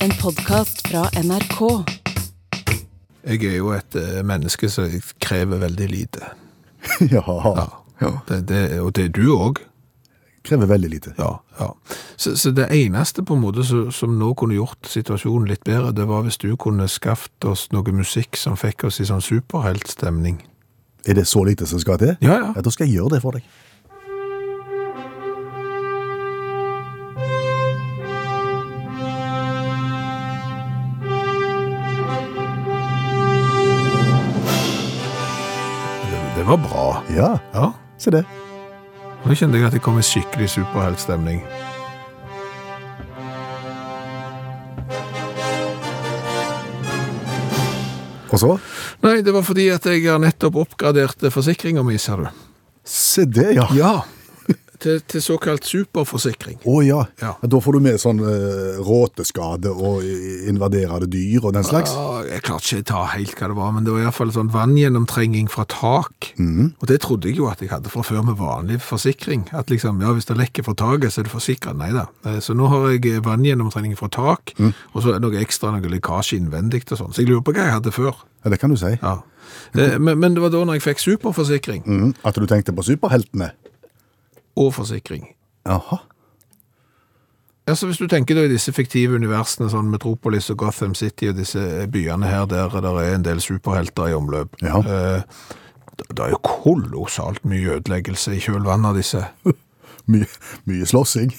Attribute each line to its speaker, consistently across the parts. Speaker 1: En podkast fra NRK.
Speaker 2: Jeg er jo et eh, menneske som krever veldig lite.
Speaker 3: ja. ja.
Speaker 2: Det, det, og det er du òg.
Speaker 3: Krever veldig lite.
Speaker 2: Ja, ja. Så, så det eneste på en måte som, som nå kunne gjort situasjonen litt bedre, det var hvis du kunne skaffet oss noe musikk som fikk oss i sånn superheltstemning.
Speaker 3: Er det så lite som skal til?
Speaker 2: Ja, ja.
Speaker 3: Da skal jeg gjøre det for deg.
Speaker 2: Det, det var bra.
Speaker 3: Ja,
Speaker 2: Ja.
Speaker 3: se det.
Speaker 2: Nå kjente jeg at jeg kom i skikkelig superheltstemning.
Speaker 3: Og så?
Speaker 2: Nei, det var fordi at jeg har nettopp oppgraderte forsikringa mi, ser du.
Speaker 3: Se det, ja. Å
Speaker 2: Ja. Til, til såkalt superforsikring.
Speaker 3: ja.
Speaker 2: Ja.
Speaker 3: Da får du med sånn eh, råteskade og invaderende dyr og den slags.
Speaker 2: Ja, jeg klarte ikke å ta helt hva det var, men det var i hvert fall sånn vanngjennomtrenging fra tak. Og det trodde jeg jo at jeg hadde fra før med vanlig forsikring. At liksom, ja, hvis det lekker fra taket, så er du forsikret. Nei da. Eh, Så nå har jeg vanngjennomtrenging fra tak, og så er det noe ekstra, noe lekkasje innvendig og sånn. Så jeg lurer på hva jeg hadde før.
Speaker 3: Ja, det kan du si.
Speaker 2: Ja. Eh, Men, men det var da når jeg fikk superforsikring
Speaker 3: Mhm. At du tenkte på superheltene.
Speaker 2: og forsikring.
Speaker 3: Jaha.
Speaker 2: Altså Hvis du tenker da i disse fiktive universene, sånn Metropolis og Gotham City og disse byene her der det er en del superhelter i omløp
Speaker 3: Ja.
Speaker 2: eh, det- Det er jo kolossalt mye ødeleggelse i kjølvannet av disse.
Speaker 3: Mye, mye slåssing.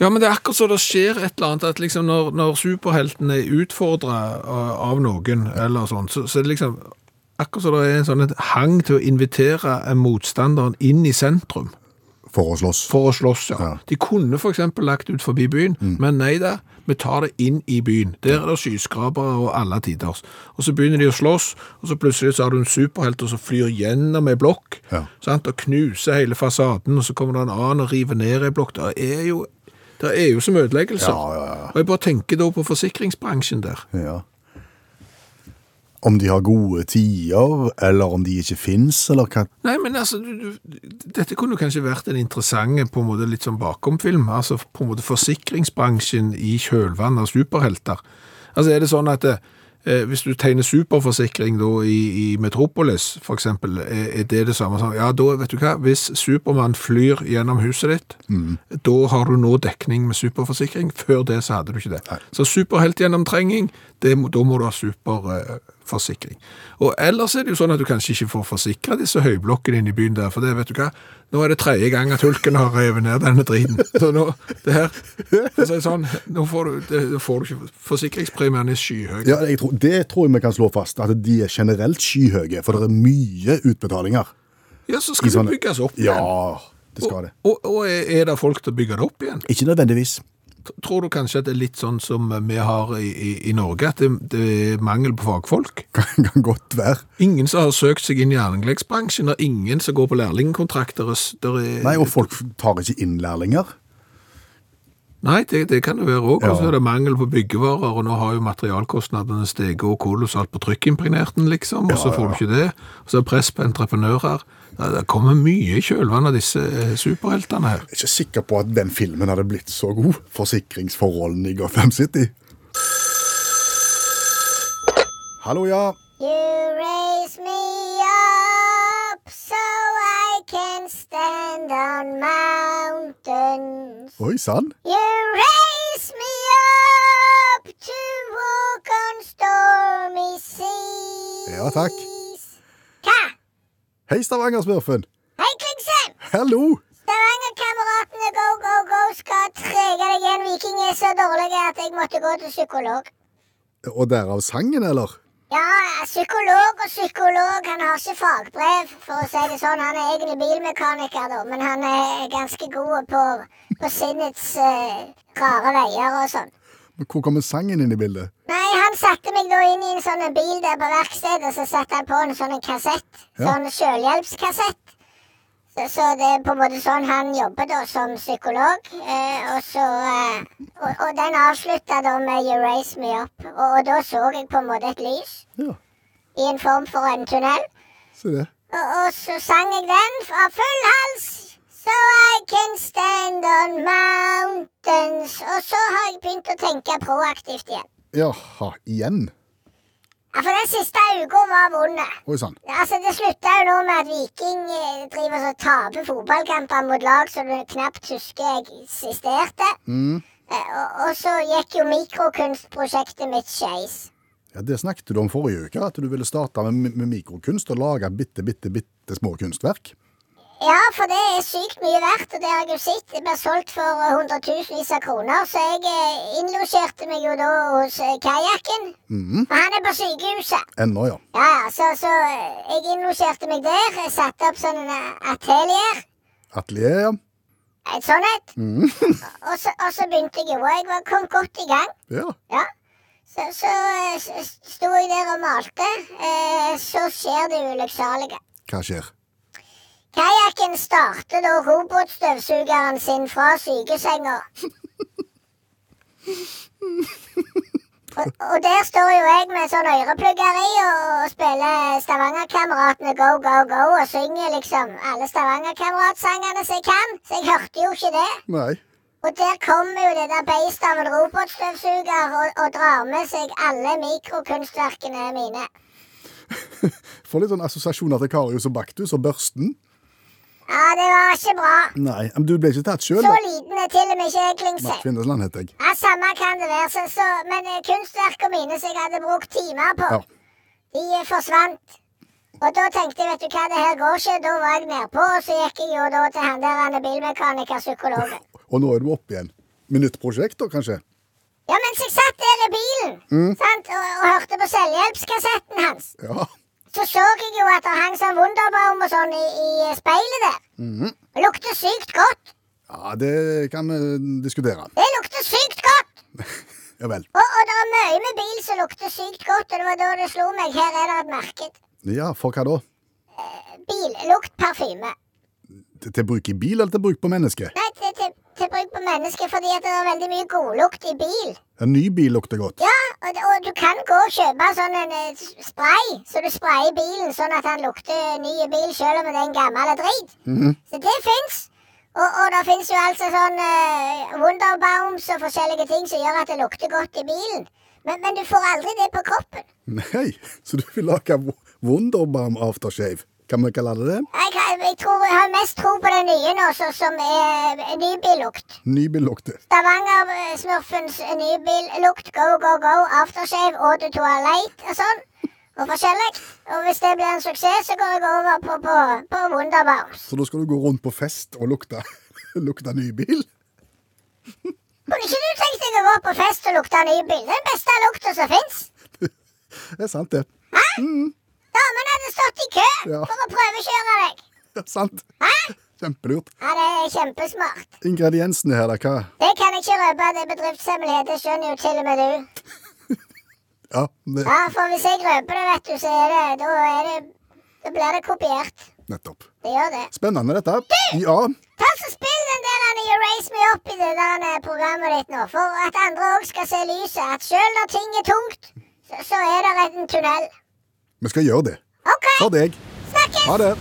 Speaker 2: Ja, men det er akkurat så det skjer et eller annet, at liksom når, når superheltene er utfordra av noen, eller sånn, så, så er det liksom Akkurat så det er en sånn et hang til å invitere motstanderen inn i sentrum.
Speaker 3: For å slåss.
Speaker 2: For å slåss, ja.
Speaker 3: Ja. Mm.
Speaker 2: De kunne for eksempel lagt ut forbi byen, men nei da, vi tar det inn i byen. Der er det skyskrapere og alle tiders. Og så begynner de å slåss, og så plutselig så har du en superhelt og så flyr gjennom ei blokk,
Speaker 3: Ja.
Speaker 2: sant, og knuser hele fasaden, og så kommer det en annen og river ned ei blokk. Det er jo, det er jo som ødeleggelser.
Speaker 3: Ja, ja, ja.
Speaker 2: Og jeg bare tenker da på forsikringsbransjen der.
Speaker 3: Ja. Om de har gode tider, eller om de ikke fins, eller hva
Speaker 2: Nei, men altså, du, du, dette kunne kanskje vært en interessant, på en måte litt sånn bakomfilm, altså på en måte forsikringsbransjen i kjølvann av superhelter. Altså er det sånn at eh, hvis du tegner superforsikring da i, i Metropolis, for eksempel, er, er det det samme som, ja da, vet du hva, hvis Superman flyr gjennom huset ditt, da har du nå dekning med superforsikring, før det så hadde du ikke det. Så superheltgjennomtrenging, det må, da må du ha eh, superforsikring. og ellers er det jo sånn at du kanskje ikke får forsikret disse høyblokkene inne i byen der, for det vet du hva, nå er det tredje gang at hulken har revet ned denne driten. Så nå, det her, for å si det sånn, nå får du, det, det får du ikke, forsikringspremien er skyhøy.
Speaker 3: ja, jeg tror, Det tror jeg vi kan slå fast, at de er generelt skyhøye, for det er mye utbetalinger.
Speaker 2: Ja, så skal
Speaker 3: I sånne-
Speaker 2: det bygges opp
Speaker 3: Ja,
Speaker 2: igjen.
Speaker 3: det skal det.
Speaker 2: Og, og, og er er det folk til å bygge det opp igjen?
Speaker 3: Ikke nødvendigvis.
Speaker 2: Tror du kanskje at det er litt sånn som vi har i, i, i Norge, at det, det er mangel på fagfolk?
Speaker 3: Kan, kan godt være.
Speaker 2: Ingen som har søkt seg inn i anleggsbransjen, det er ingen som går på lærlingkontrakter. Der er,
Speaker 3: Nei, og folk tar ikke inn lærlinger.
Speaker 2: Nei, det, det kan det være òg.
Speaker 3: Ja.
Speaker 2: Og så er det mangel på byggevarer, og nå har jo materialkostnadene steget og kolossalt på trykkimpregnerte, liksom, og så får du ikke det. Og så er det press på entreprenører. Det, det kommer mye i kjølvannet av disse eh, superheltene her.
Speaker 3: Jeg er ikke sikker på at den filmen hadde blitt så god. Forsikringsforholdene i Gotham City. Hallo, ja.
Speaker 4: You raise me up so I can stand on mountains.
Speaker 3: Oi sann.
Speaker 4: You raise me up to walk on stormy seas.
Speaker 3: Ja, takk.
Speaker 4: Hva?
Speaker 3: Hei, Stavanger-smurfen.
Speaker 4: Hei, Klingsheim!
Speaker 3: Hallo.
Speaker 4: Stavanger-kameratene go, go, go skal trege deg igjen. Viking er så dårlige at jeg måtte gå til psykolog.
Speaker 3: Og derav sangen, eller?
Speaker 4: Ja, psykolog og psykolog. Han har ikke fagbrev, for å si det sånn. Han er egentlig bilmekaniker, da, men han er ganske god på, på sinnets eh, rare veier og sånn.
Speaker 3: Men Hvor kommer sangen inn i bildet?
Speaker 4: Nei, han satte meg da inn i en sånn en bil der på verkstedet, så satte han på en sånn en kassett.
Speaker 3: Ja.
Speaker 4: Sånn selvhjelpskassett. Så, så det er på en måte sånn han jobber da som psykolog. Eh, og så eh, og, og den avslutta da med You Raise Me Up. Og, og da så jeg på en måte et lys
Speaker 3: Ja,
Speaker 4: i en form for en tunnel.
Speaker 3: se det.
Speaker 4: Og, og så sang jeg den fra full hals. So I can stand on mountains. Og så har jeg begynt å tenke proaktivt igjen.
Speaker 3: Jaha, igjen?
Speaker 4: Ja, For den siste uka var vond.
Speaker 3: Oi sann.
Speaker 4: Altså, det slutta jo nå med at Viking eh, driver og taper fotballkamper mot lag som du knapt husker eksisterte.
Speaker 3: Mm.
Speaker 4: Eh, Og, og så gikk jo mikrokunstprosjektet mitt skeis.
Speaker 3: Ja, det snakket du om forrige uke, at du ville starte med, med mikrokunst og lage bitte, bitte, bitte små kunstverk.
Speaker 4: Ja, for det er sykt mye verdt, og det har jeg jo sett. Det blir solgt for eh, hundretusenvis av kroner, så jeg eh, innlosjerte meg jo da hos eh, Kajakken.
Speaker 3: Mhm.
Speaker 4: For han er på sykehuset.
Speaker 3: Ennå, ja.
Speaker 4: Ja, ja, så, så eh, jeg innlosjerte meg der. Jeg satte opp sånn eh, atelier.
Speaker 3: Atelier, ja.
Speaker 4: Et sånn et.
Speaker 3: Mhm.
Speaker 4: Og så, og så begynte jeg jo, og jeg var, kom godt i gang.
Speaker 3: ja.
Speaker 4: Ja. Så, så eh, s- s- sto jeg der og malte. Eh, så skjer det ulykksalige.
Speaker 3: Hva skjer?
Speaker 4: Kajakken starter da robotstøvsugeren sin fra sykesenga. Og, og der står jo jeg med sånn øreplugger i og, og spiller Stavangerkameratene Go Go Go og synger liksom alle Stavangerkameratsangene som jeg kan. Så jeg hørte jo ikke det.
Speaker 3: Nei.
Speaker 4: Og der kommer jo det der beistet av en robotstøvsuger og, og drar med seg alle mikrokunstverkene mine.
Speaker 3: Får litt sånn assosiasjoner til Karius og Baktus og børsten.
Speaker 4: Ja, det var ikke bra.
Speaker 3: Nei, men du ble ikke tatt sjøl,
Speaker 4: Så
Speaker 3: da.
Speaker 4: liten er til og med ikke jeg, Klingsheim.
Speaker 3: Mats Kvindesland heter jeg.
Speaker 4: Ja, Samme kan det være. Så, så, men eh, kunstverkene mine som jeg hadde brukt timer på,
Speaker 3: Ja.
Speaker 4: de eh, forsvant. Og da tenkte jeg vet du hva, det her går ikke. Da var jeg nedpå, og så gikk jeg jo da til han der han er bilmekanikerpsykologen.
Speaker 3: Og nå er du oppe igjen. Med nytt prosjekt, da, kanskje?
Speaker 4: Ja, mens jeg satt der i bilen
Speaker 3: Mm.
Speaker 4: sant, og, og hørte på selvhjelpskassetten hans,
Speaker 3: Ja.
Speaker 4: så så jeg jo at det hang sånn Wunderbaum og sånn i, i speilet der.
Speaker 3: Mhm.
Speaker 4: Det lukter sykt godt.
Speaker 3: Ja, det kan vi diskutere.
Speaker 4: Det lukter sykt godt!
Speaker 3: Ja vel.
Speaker 4: Og, og det er mye med bil som lukter sykt godt, og det var da det slo meg. Her er det et marked.
Speaker 3: Ja, for hva da?
Speaker 4: Billuktparfyme.
Speaker 3: Til- Til bruk i bil, eller til bruk på menneske?
Speaker 4: Nei, til, til, til bruk på mennesker, fordi at det er veldig mye godlukt i bil.
Speaker 3: En ny bil lukter godt.
Speaker 4: Ja, og, det- og du kan gå og kjøpe sånn en eh, s- spray, så du sprayer bilen sånn at han lukter ny i bil, selv om det er en gammel drit. Så det fins. Og, og det fins jo altså sånn eh, Wunderbaums og forskjellige ting som gjør at det lukter godt i bilen. Men, men du får aldri det på kroppen.
Speaker 3: Nei, så du vil lage wo- Wunderbaum aftershave? Kan vi kalle det det?
Speaker 4: Jeg, jeg, jeg, tror, jeg har mest tro på den nye nå, så- som er eh, nybillukt.
Speaker 3: Ny bil lukter.
Speaker 4: Stavanger-smurfens nybillukt, go, go, go, aftershave, eau de toilette og sånn. Og forskjellig. Og hvis det blir en suksess, så går jeg over på, på, på Wunderbaums.
Speaker 3: Så da skal du gå rundt på fest og lukte, lukte ny bil?
Speaker 4: Kunne ikke du tenkt deg å gå på fest og lukte nybil? Den beste lukta som fins.
Speaker 3: Det er sant, det.
Speaker 4: Damene hadde stått i kø
Speaker 3: Ja.
Speaker 4: for å prøvekjøre deg.
Speaker 3: Det er sant.
Speaker 4: Hæ?
Speaker 3: Kjempelurt.
Speaker 4: Ja, det er kjempesmart.
Speaker 3: Ingrediensene her, da, hva?
Speaker 4: Det kan jeg ikke røpe, det er bedriftshemmelighet. Det skjønner jo til og med du.
Speaker 3: Ja, det,
Speaker 4: Ja, for hvis jeg røper det, vet du, så er det Da, er det, da blir det kopiert.
Speaker 3: nettopp.
Speaker 4: Det gjør det.
Speaker 3: Spennende, dette. Ja,
Speaker 4: Ta så Spill den der han, You Raise Me Up i det der han, programmet ditt nå, for at andre òg skal se lyset. At sjøl når ting er tungt, så, så er det en tunnel.
Speaker 3: vi skal gjøre det.
Speaker 4: OK,
Speaker 3: For deg.
Speaker 4: snakkes!
Speaker 3: Ha det.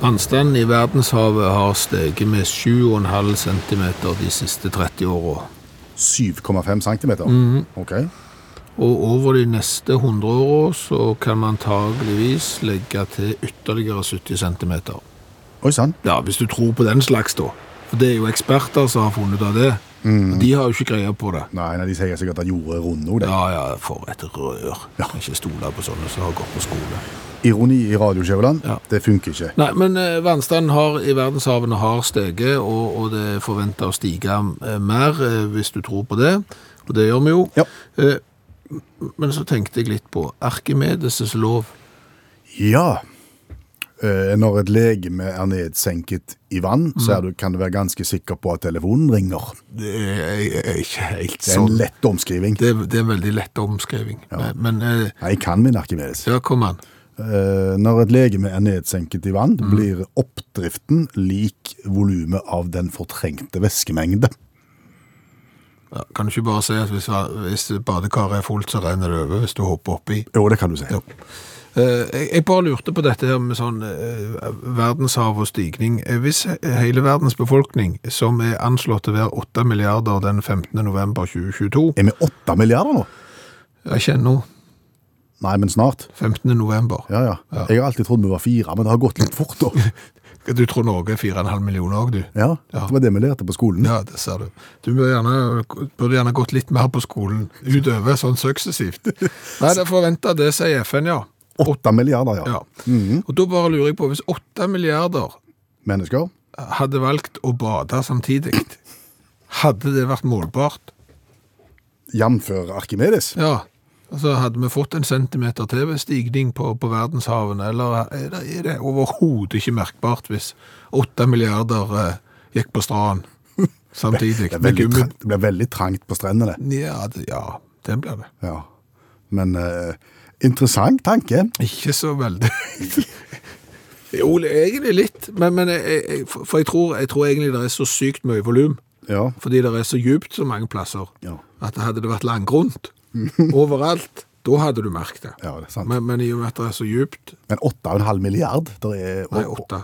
Speaker 2: Vannstanden i verdenshavet har steget med 7,5 cm de siste 30 åra.
Speaker 3: 7,5 centimeter.
Speaker 2: Mhm.
Speaker 3: Ok.
Speaker 2: Og over de neste 100 åra så kan man antageligvis legge til ytterligere 70 cm.
Speaker 3: Oi sann.
Speaker 2: Ja, hvis du tror på den slags, da. For det er jo eksperter som har funnet ut av det. Og de har jo ikke greie på det.
Speaker 3: Nei, nei, de sier sikkert at jordet er rund nå. det.
Speaker 2: Mm. Ja, ja, for et rør.
Speaker 3: Ja.
Speaker 2: Ikke stole på sånne som har gått på skole.
Speaker 3: Ironi i radioskjæveland,
Speaker 2: Ja.
Speaker 3: det funker ikke.
Speaker 2: Nei, men eh, vannstanden har, i verdenshavene har steget, og, og det er forventa å stige eh, mer, eh, hvis du tror på det. Og det gjør vi jo.
Speaker 3: Ja.
Speaker 2: Eh, men så tenkte jeg litt på Arkimedes' lov.
Speaker 3: Ja. Eh, når et legeme er nedsenket i vann,
Speaker 2: Mhm.
Speaker 3: så er du, kan du være ganske sikker på at telefonen ringer.
Speaker 2: Det er, er ikke helt sånn.
Speaker 3: Det er en lett omskriving.
Speaker 2: Det er, det er en veldig lett omskriving. Men, men eh,
Speaker 3: Nei, jeg kan min Arkimedes.
Speaker 2: ja, kom an.
Speaker 3: Eh, når et legeme er nedsenket i vann, blir oppdriften lik volumet av den fortrengte væskemengde.
Speaker 2: Ja, kan du ikke bare si at hvis, hvis badekaret er fullt, så renner det over hvis du hopper oppi?
Speaker 3: Jo, det kan du si.
Speaker 2: Jo. Eh, Jeg jeg bare lurte på dette her med sånn eh, verdenshav og stigning. Eh, Hvis he- hele verdens befolkning, som er anslått til å være 8 milliarder den 15. november 2022
Speaker 3: Er vi åtte milliarder nå?
Speaker 2: Jeg kjenner nå
Speaker 3: Nei, men snart.
Speaker 2: 15. november.
Speaker 3: Ja, ja. Jeg har alltid trodd vi var fire, men det har gått litt fort da.
Speaker 2: Du tror Norge er 4,5 millioner òg, du?
Speaker 3: Ja,
Speaker 2: Ja.
Speaker 3: det var det vi lærte på skolen.
Speaker 2: Ja, det ser du. Du burde gjerne, burde gjerne gått litt mer på skolen utover, sånn suksessivt. Nei, det er forventa, det sier FN, ja.
Speaker 3: Åtte milliarder, ja.
Speaker 2: ja.
Speaker 3: Mhm.
Speaker 2: Og da bare lurer jeg på, hvis 8 milliarder
Speaker 3: Mennesker.
Speaker 2: hadde valgt å bade samtidig, hadde det vært målbart?
Speaker 3: Jamfør Arkimedes.
Speaker 2: Ja. Altså, hadde vi fått en centimeter til ved stigning på, på verdenshavene, eller er det, er det overhodet ikke merkbart hvis 8 milliarder eh, gikk på stranden samtidig?
Speaker 3: Det, er
Speaker 2: Med
Speaker 3: veldig
Speaker 2: gummi-
Speaker 3: trang- det blir veldig trangt på strendene.
Speaker 2: Ja, det, ja, det blir det.
Speaker 3: Ja. Men eh, interessant tanke.
Speaker 2: Ikke så veldig. jo, egentlig litt, men, men jeg, jeg, for jeg tror, jeg tror egentlig det er så sykt mye volum,
Speaker 3: Ja.
Speaker 2: fordi det er så djupt så mange plasser,
Speaker 3: Ja.
Speaker 2: at hadde det vært langgrunt overalt, da hadde du merket det.
Speaker 3: Ja, det er sant.
Speaker 2: Men, men i og med at det er så djupt,
Speaker 3: Men åtte og en halv milliard, det er
Speaker 2: nei, åtte,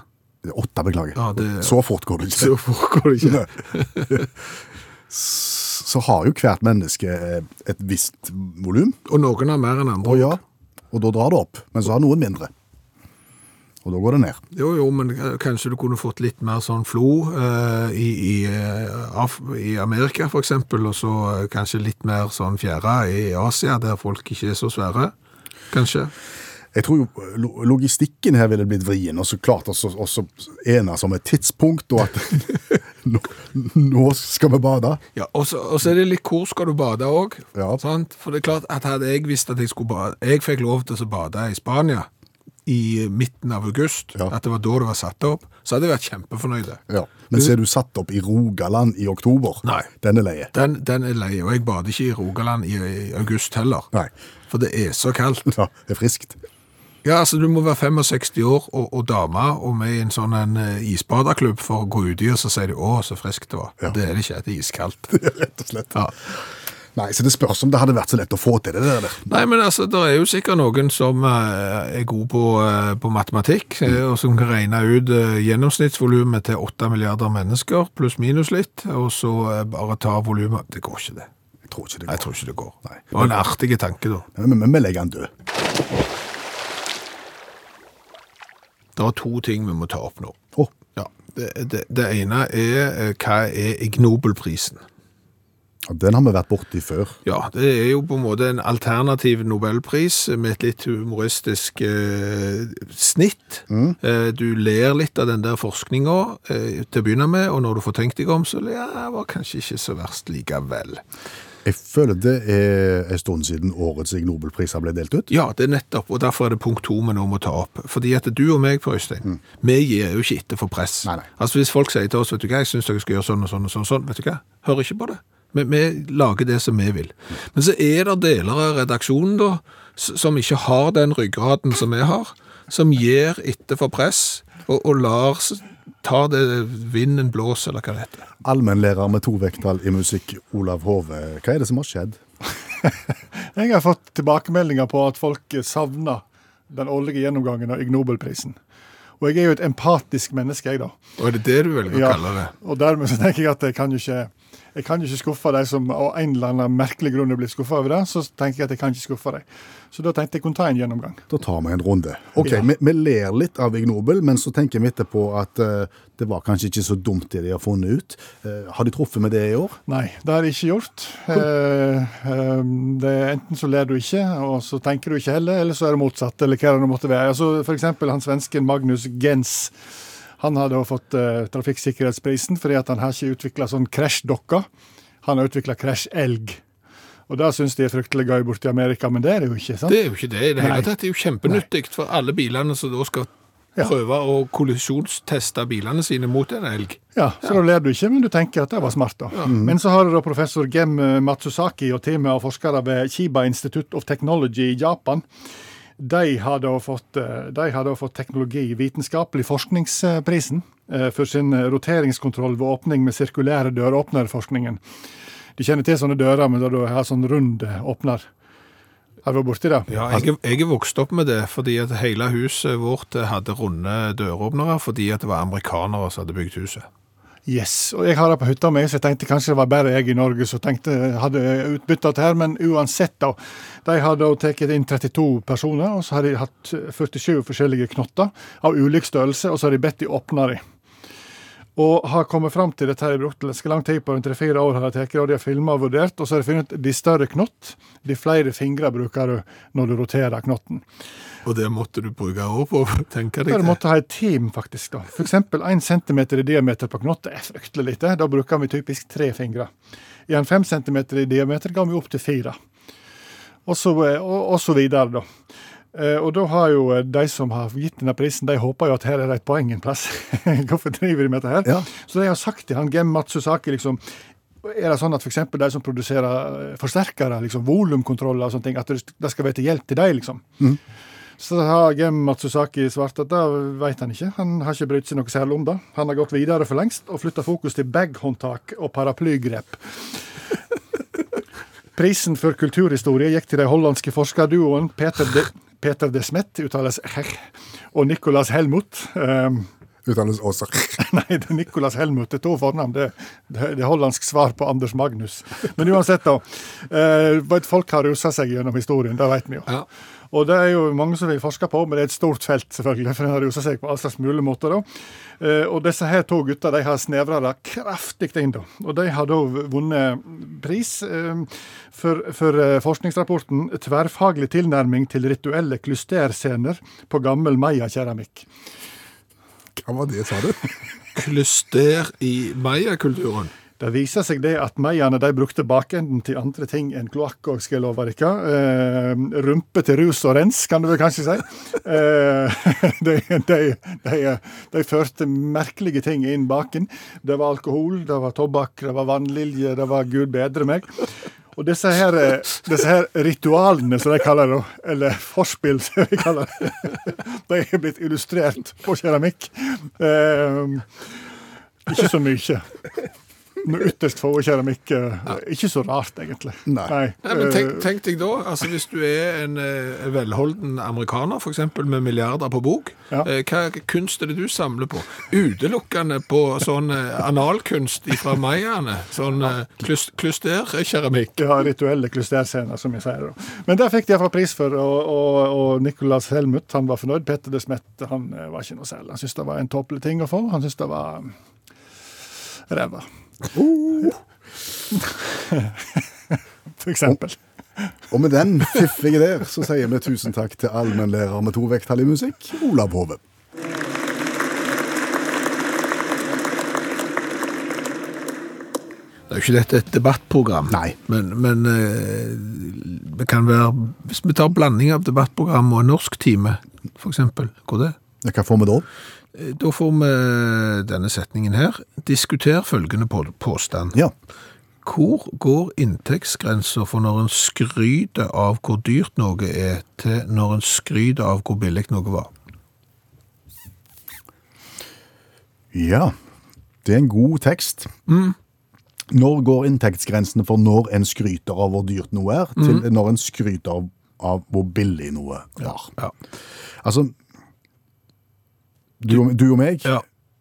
Speaker 3: Det er Åtte, beklager.
Speaker 2: Ja, det-
Speaker 3: Så fort går det ikke.
Speaker 2: så foregår det ikke.
Speaker 3: Så har jo hvert menneske eh, et visst volum.
Speaker 2: Og noen har mer enn andre.
Speaker 3: Og ja, og da drar det opp. Men så har noen mindre. Og da går det ned.
Speaker 2: Jo, jo, men k- kanskje du kunne fått litt mer sånn flo eh, i, i, eh, Af i Amerika for eksempel, og så eh, kanskje litt mer sånn fjære i Asia, der folk ikke er så svære, kanskje.
Speaker 3: Jeg tror jo lo- logistikken her ville blitt vrien, og så klart også, også enes om et tidspunkt, og at nå, nå skal vi bade.
Speaker 2: Ja, og så og så er det litt hvor skal du bade òg.
Speaker 3: Ja.
Speaker 2: For det er klart at hadde jeg visst at jeg skulle bade Jeg fikk lov til å bade i Spania i midten av august,
Speaker 3: Ja.
Speaker 2: at det var da det var satt opp, så hadde jeg vært kjempefornøyd.
Speaker 3: Ja. Men så er du satt opp i Rogaland i oktober.
Speaker 2: Nei.
Speaker 3: Den er leie.
Speaker 2: Den, den er lei, og jeg bader ikke i Rogaland i, i august heller.
Speaker 3: Nei.
Speaker 2: For det er så kaldt.
Speaker 3: Ja, det er friskt.
Speaker 2: Ja, altså du må være 65 år og, og dame og med i en sånn en eh, isbaderklubb for å gå ut i, og så sier de 'å, så friskt det var'. Det er det ikke, det er iskaldt.
Speaker 3: Rett og slett. Nei, så det spørs om det hadde vært så lett å få til det der. eller?
Speaker 2: Nei, men altså, det er jo sikkert noen som eh, er god på, eh, på matematikk, eh, og som kan regne ut eh, gjennomsnittsvolumet til 8 milliarder mennesker, pluss minus litt, og så eh, bare ta volumet. Det går ikke det.
Speaker 3: Jeg tror ikke det
Speaker 2: Nei, Jeg
Speaker 3: går.
Speaker 2: tror ikke det går.
Speaker 3: Nei.
Speaker 2: Det var en artig tanke da.
Speaker 3: Men- Men men vi legger han død.
Speaker 2: Det er to ting vi må ta opp nå.
Speaker 3: Å,
Speaker 2: Ja, det, det, det ene er eh, hva er Ignobelprisen?
Speaker 3: ja, den har vi vært borti før.
Speaker 2: Ja, det er jo på en måte en alternativ Nobelpris med et litt humoristisk eh, snitt. Eh, du ler litt av den der forskninga eh, til å begynne med, og når du får tenkt deg om, så ja, det var kanskje ikke så verst likevel.
Speaker 3: Jeg føler det er en stund siden årets Ig Nobelpriser ble delt ut.
Speaker 2: Ja, det er nettopp, og derfor er det punkt to vi nå må ta opp. Fordi at du og meg, Per Øystein, vi gir jo ikke etter for press.
Speaker 3: Nei, nei.
Speaker 2: Altså hvis folk sier til oss, vet du hva, jeg synes dere skal gjøre sånn og sånn og sånn, og sånn vet du hva, hør ikke på det. Vi, vi lager det som vi vil. Men så er det deler av redaksjonen da, s- som ikke har den ryggraden som vi har, som gir etter for press, og, og lar s- ta det vinden blåser, eller hva det heter.
Speaker 3: Allmennlærer med to vekttall i musikk, Olav Hove. Hva er det som har skjedd?
Speaker 5: Jeg har fått tilbakemeldinger på at folk savner den årlige gjennomgangen av Ig Nobelprisen. Og jeg er jo et empatisk menneske, jeg, da.
Speaker 2: Og er det det du velger
Speaker 5: Ja,
Speaker 2: å kalle det?
Speaker 5: Og dermed så tenker jeg at jeg kan jo ikke jeg kan jo ikke skuffe de som av en eller annen merkelig grunn er blitt skuffa over det. Så tenker jeg at jeg kan ikke skuffe dem. Så da tenkte jeg kunne ta en gjennomgang.
Speaker 3: Da tar vi en runde. Ok,
Speaker 5: Ja.
Speaker 3: vi, vi ler litt av Ig Nobel, men så tenker vi etterpå at eh, det var kanskje ikke så dumt det de har funnet ut. Eh, har de truffet med det i år?
Speaker 5: Nei, det har jeg ikke gjort. Eh, eh, det, er enten så ler du ikke, og så tenker du ikke heller, eller så er det motsatt, eller hva det nå måtte være. Altså, for eksempel han svensken Magnus Gens. Han har da fått eh, trafikksikkerhetsprisen fordi at han har ikke utvikla sånn krasjdokke. Han har utvikla krasjelg. Og det syns de er fryktelig gøy borte i Amerika, men det er det jo ikke. sant?
Speaker 2: Det er jo ikke det i det hele
Speaker 5: Nei.
Speaker 2: tatt. Det er jo kjempenyttig for alle bilene som da skal
Speaker 5: Ja.
Speaker 2: prøve å kollisjonsteste bilene sine mot en elg.
Speaker 5: Ja, så da ler du ikke, men du tenker at det var smart, da. Men så har du da professor Gem eh, Matsusaki og teamet av forskere ved Chiba Institute of Technology i Japan. De har da fått, eh, de har da fått teknologi vitenskapelig forskningsprisen eh, for sin roteringskontroll ved åpning med sirkulære døråpnerforskningen. Du kjenner til sånne dører, men da du har sånn rund åpner. Har du vært borti det?
Speaker 2: Ja, jeg, Altså, jeg er vokst opp med det, fordi at hele huset vårt hadde runde døråpnere, fordi at det var amerikanere som hadde bygd huset.
Speaker 5: Yes, og jeg har det på hytta mi, så jeg tenkte kanskje det var bare jeg i Norge som tenkte hadde utbytta dette her, men uansett, da. De har da tatt inn 32 personer, og så har de hatt 47 forskjellige knotter av ulik størrelse, og så har de bedt de åpne dem. Og har kommet fram til dette her i brukt ganske lang tid, på rundt tre-fire år har de tatt, og de har filma og vurdert, og så har de funnet ut de større knott, de flere fingre bruker du når du roterer knotten.
Speaker 2: Og det måtte du bruke år på, tenker
Speaker 5: Ja,
Speaker 2: jeg.
Speaker 5: du måtte ha et team, faktisk. da. For eksempel 1 cm i diameter på knott er fryktelig lite. Da bruker vi typisk tre fingre. I en 5 cm i diameter går vi opp til fire. Og så, eh, og, og så videre, da. Eh, Og da har jo eh, de som har gitt denne prisen, de håper jo at her er det et poeng en plass. Hvorfor driver de med dette her?
Speaker 3: Ja.
Speaker 5: Så de har sagt til han Gem Matsusaki liksom er det sånn at for eksempel de som produserer eh, forsterkere, liksom volumkontroller og sånne ting, at det det skal være til hjelp til dem, liksom? Så har Gem Matsusaki svart at det vet han ikke. Han har ikke brydd seg noe særlig om det. Han har gått videre for lengst og flytta fokus til baghåndtak og paraplygrep. Prisen for kulturhistorie gikk til de hollandske forskerduoen Peter de, Peter de Smet, uttales Herr, og Nicolas Helmut. Um,
Speaker 3: Uttales også.
Speaker 5: Nei, det er Nicolas Helmut. Det er to fornavn. Det, det, det er hollandsk svar på Anders Magnus. Men uansett, da. Eh, vet, folk har rusa seg gjennom historien, det vet vi jo.
Speaker 2: Ja.
Speaker 5: Og det er jo mange som vil forske på, men det er et stort felt, selvfølgelig. For en har rusa seg på all slags mulige måter, da. Eh, og disse her to gutta de har snevra det kraftig inn, da. Og de har da vunnet pris eh, for, for eh, forskningsrapporten 'Tverrfaglig tilnærming til rituelle klysterscener på gammel Maya-keramikk'.
Speaker 3: Hva var det, sa du?
Speaker 2: Klyster i mayakulturen.
Speaker 5: Det viser seg det at meierne de brukte bakenden til andre ting enn kloakk òg, skal jeg love dere. Eh, rumpe til rus og rens, kan du vel kanskje si. Eh, de, de, de, de førte merkelige ting inn baken. Det var alkohol, det var tobakk, det var vannlilje, det var gud bedre meg. Og disse her, eh, disse her ritualene, som de kaller det, da, eller forspill, som vi kaller det, de er blitt illustrert på keramikk. Eh, ikke så mye. Med ytterst få keramikk. eh, Ikke så rart, egentlig.
Speaker 3: Nei.
Speaker 2: Nei, men tenk,
Speaker 5: eh,
Speaker 2: tenk deg da, altså hvis du er en eh, velholden amerikaner, for eksempel med milliarder på bok,
Speaker 5: Ja.
Speaker 2: eh, hva kunst er det du samler på? Utelukkende på sånn eh, analkunst fra mayaene, sånn eh, klys- klysterkeramikk.
Speaker 5: ja, rituelle klysterscener, som jeg sier. da. Men der fikk de iallfall pris for, og, og, og Nicolas Helmut han var fornøyd. Petter de Smette han eh, var ikke noe særlig. Han syntes det var en tåpelig ting å få. Han syntes det var mm, ræva.
Speaker 2: Uh.
Speaker 5: for eksempel.
Speaker 3: Og med den fiffige der, så sier vi tusen takk til allmennlærer med to vekttall i musikk, Olav Hove.
Speaker 2: Det er jo ikke dette et debattprogram,
Speaker 3: Nei.
Speaker 2: men, men eh, det kan være, hvis vi tar blanding av debattprogram og en norsk time, for eksempel, går det?
Speaker 3: Ja, Hva får vi da?
Speaker 2: Eh, Da får vi denne setningen her. Diskuter følgende på, påstand.
Speaker 3: Ja.
Speaker 2: Hvor går inntektsgrensa for når en skryter av hvor dyrt noe er, til når en skryter av hvor billig noe var?
Speaker 3: Ja. Det er en god tekst. Når går inntektsgrensene for når en skryter av hvor dyrt noe er, til når en skryter av, av hvor billig noe var?
Speaker 2: Mm. Ja.
Speaker 3: Altså du, og- du og meg
Speaker 2: Ja.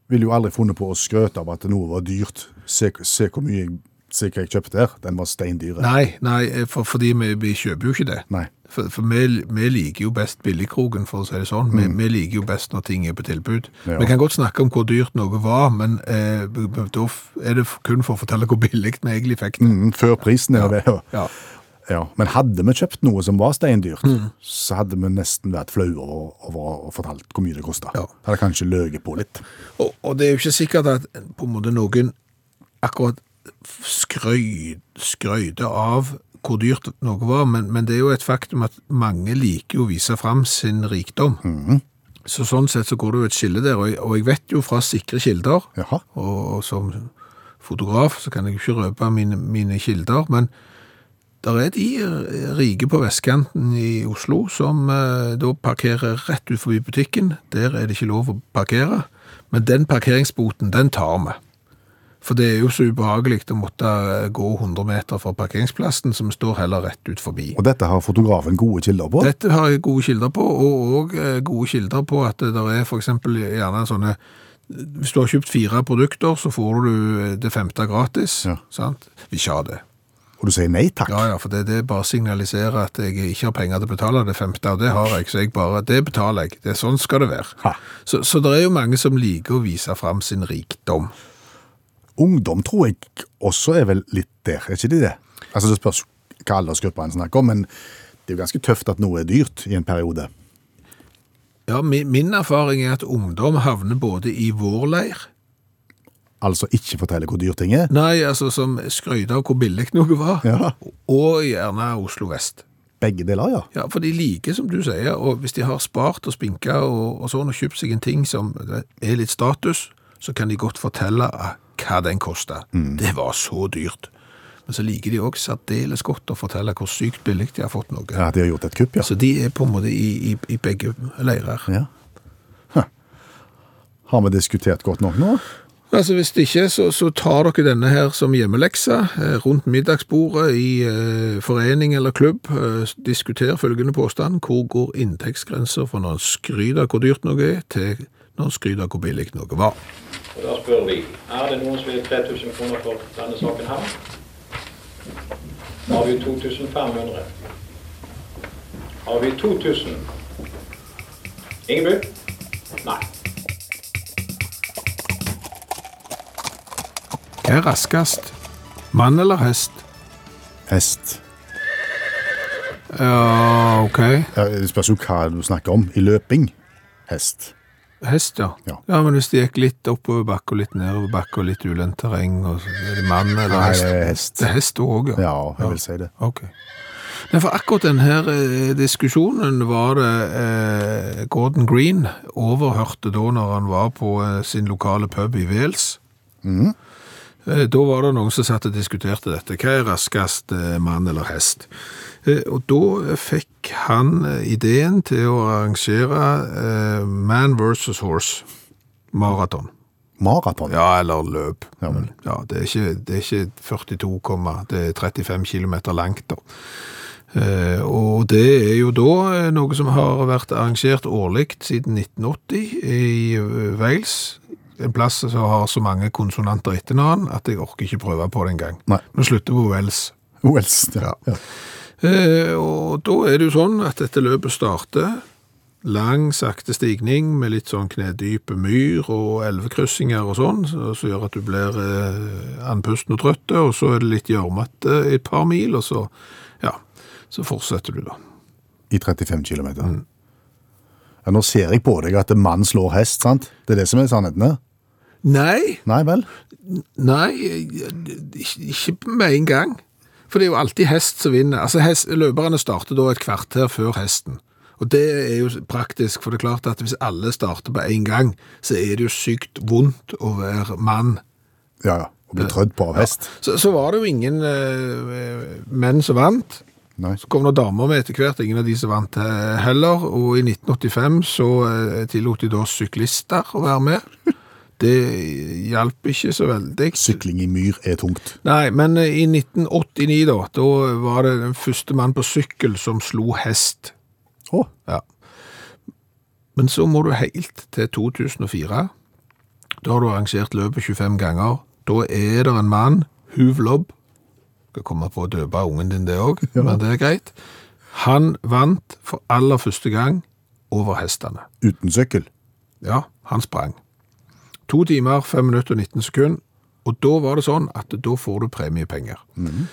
Speaker 3: ville jo aldri funnet på å skrøte av at noe var dyrt. Se, se hvor mye jeg, se hva jeg kjøpte her. Den var steindyr.
Speaker 2: Nei, nei for, fordi vi, vi kjøper jo ikke det.
Speaker 3: Nei.
Speaker 2: For, for vi, vi liker jo best billigkroken, for å si det sånn. Vi, vi liker jo best når ting er på tilbud.
Speaker 3: Mm. Ja.
Speaker 2: Vi kan godt snakke om hvor dyrt noe var, men eh, b- b- da f- er det f- kun for å fortelle hvor billig vi egentlig fikk det.
Speaker 3: Mm, før prisen er ved.
Speaker 2: Ja.
Speaker 3: Ja, men hadde vi kjøpt noe som var steindyrt,
Speaker 2: Mm.
Speaker 3: så hadde vi nesten vært flaue over, over å fortalt hvor mye det kosta.
Speaker 2: Ja.
Speaker 3: Hadde kanskje løyet på litt.
Speaker 2: Og, og det er jo ikke sikkert at på en måte noen akkurat skrøy, skrøyde av hvor dyrt noe var, men, men det er jo et faktum at mange liker jo å vise fram sin rikdom. Så sånn sett så går det jo et skille der, og jeg, og jeg vet jo fra sikre kilder,
Speaker 3: Jaha.
Speaker 2: og, og som fotograf så kan jeg jo ikke røpe mine, mine kilder, men der er de eh, rike på vestkanten i Oslo som eh, da parkerer rett ut forbi butikken. Der er det ikke lov å parkere, men den parkeringsboten, den tar vi. For det er jo så ubehagelig å måtte eh, gå 100 meter fra parkeringsplassen, som står heller rett ut forbi.
Speaker 3: Og dette har fotografen gode kilder på.
Speaker 2: Dette har jeg gode kilder på, og òg gode kilder på at det der er f.eks. gjerne sånne Hvis du har kjøpt fire produkter, så får du eh, det femte gratis.
Speaker 3: Ja.
Speaker 2: Sant? Vil ikke ha det.
Speaker 3: Og du sier nei takk.
Speaker 2: Ja, ja, for det, det bare signaliserer at jeg ikke har penger til å betale det femte, og det har jeg, så jeg bare, det betaler jeg. Det, er sånn skal det være.
Speaker 3: Ha.
Speaker 2: Så, så det er jo mange som liker å vise fram sin rikdom.
Speaker 3: Ungdom tror jeg også er vel litt der, er ikke de det? Altså Det spørs hva aldersgruppa en snakker om, men det er jo ganske tøft at noe er dyrt i en periode.
Speaker 2: Ja, min, min erfaring er at ungdom havner både i vår leir,
Speaker 3: Altså ikke fortelle hvor dyr ting er.
Speaker 2: nei, altså som skryter av hvor billig noe var,
Speaker 3: Ja.
Speaker 2: og gjerne Oslo Vest.
Speaker 3: Begge deler, ja.
Speaker 2: Ja, for de liker, som du sier, og hvis de har spart og spinka og, og sånn, og kjøpt seg en ting som er litt status, så kan de godt fortelle eh, hva den kosta. Det var så dyrt. Men så liker de òg særdeles godt å fortelle hvor sykt billig de har fått noe.
Speaker 3: ja. De har gjort et kupp, ja.
Speaker 2: Så de er på en måte i, i, i begge leirer.
Speaker 3: ja. Huh. Har vi diskutert godt nok nå?
Speaker 2: Altså, hvis det ikke, så, så tar dere denne her som hjemmelekse eh, rundt middagsbordet i eh, forening eller klubb. Eh, diskuter følgende påstand. Hvor går inntektsgrenser fra når en skryter av hvor dyrt noe er, til når en skryter av hvor billig noe var?
Speaker 6: Og da spør vi, er det noen som vil 3000 kroner for denne saken her? Har vi 2500? Har vi 2000? Ingeborg? Nei.
Speaker 2: Hva er raskest? Mann eller hest?
Speaker 3: Hest.
Speaker 2: Ja, OK.
Speaker 3: Ja, Det spørs jo hva du snakker om. I løping. Hest.
Speaker 2: Hest, ja.
Speaker 3: Ja.
Speaker 2: men hvis det gikk litt oppover bakke og litt nedover bakke og litt ulendt terreng, og så er det mann eller
Speaker 3: Nei,
Speaker 2: hest?
Speaker 3: det er hest.
Speaker 2: Det er hest òg, ja.
Speaker 3: Ja, jeg vil si det.
Speaker 2: Ok. Nei, for akkurat denne diskusjonen var det eh, Gordon Green overhørte da når han var på eh, sin lokale pub i Wales. Eh, da var det noen som satt og diskuterte dette. Hva er raskest, eh, mann eller hest? Eh, og da fikk han eh, ideen til å arrangere eh, man versus horse maraton.
Speaker 3: Maraton.
Speaker 2: Ja, eller løp.
Speaker 3: sånn. Ja, vel.
Speaker 2: Ja, det er ikke, det er ikke 42, komma, det er 35 kilometer langt da. Eh, og det er jo da eh, noe som har vært arrangert årlig siden 1980 i eh, Wales. En plass som har så mange konsonanter etter hverandre at jeg orker ikke prøve på det engang.
Speaker 3: Nei.
Speaker 2: Vi slutter på Wales.
Speaker 3: Wells. Ja. Ja.
Speaker 2: Eh, og da er det jo sånn at dette løpet starter. Lang, sakte stigning med litt sånn knedype myr og elvekryssinger og sånn, så- som gjør at du blir eh, andpusten og trøtt, og så er det litt gjørmete i et par mil, og så, ja, så fortsetter du da.
Speaker 3: I 35 km. Ja, nå ser jeg på deg at mann slår hest, sant? Det er det som er sannheten her.
Speaker 2: Nei,
Speaker 3: Nei vel?
Speaker 2: nei, ikke ikke med en gang. For det er jo alltid hest som vinner. Altså, hest, løperne starter da et kvarter før hesten. Og det er jo praktisk, for det er klart at hvis alle starter på en gang, så er det jo sykt vondt å være mann.
Speaker 3: Ja, ja. Å bli trødd på av hest.
Speaker 2: Så, så var det jo ingen eh, menn som vant.
Speaker 3: Nei.
Speaker 2: Så kom det damer med etter hvert, ingen av de som vant eh, heller. Og i 1985 så eh, tillot de da syklister å være med. Det hjalp ikke så veldig.
Speaker 3: Sykling i myr er tungt.
Speaker 2: Nei, men eh, i 1989 da, da var det den første mann på sykkel som slo hest.
Speaker 3: Å,
Speaker 2: Ja. Men så må du helt til 2004. Da har du arrangert løpet 25 ganger. Da er det en mann, Huvlob, skal komme på å døpe ungen din det òg, men det er greit. Han vant for aller første gang over hestene.
Speaker 3: uten sykkel.
Speaker 2: Ja, han sprang. To timer, 5 minutter og 19 sekunder. Og da var det sånn at da får du premiepenger.
Speaker 3: Mhm.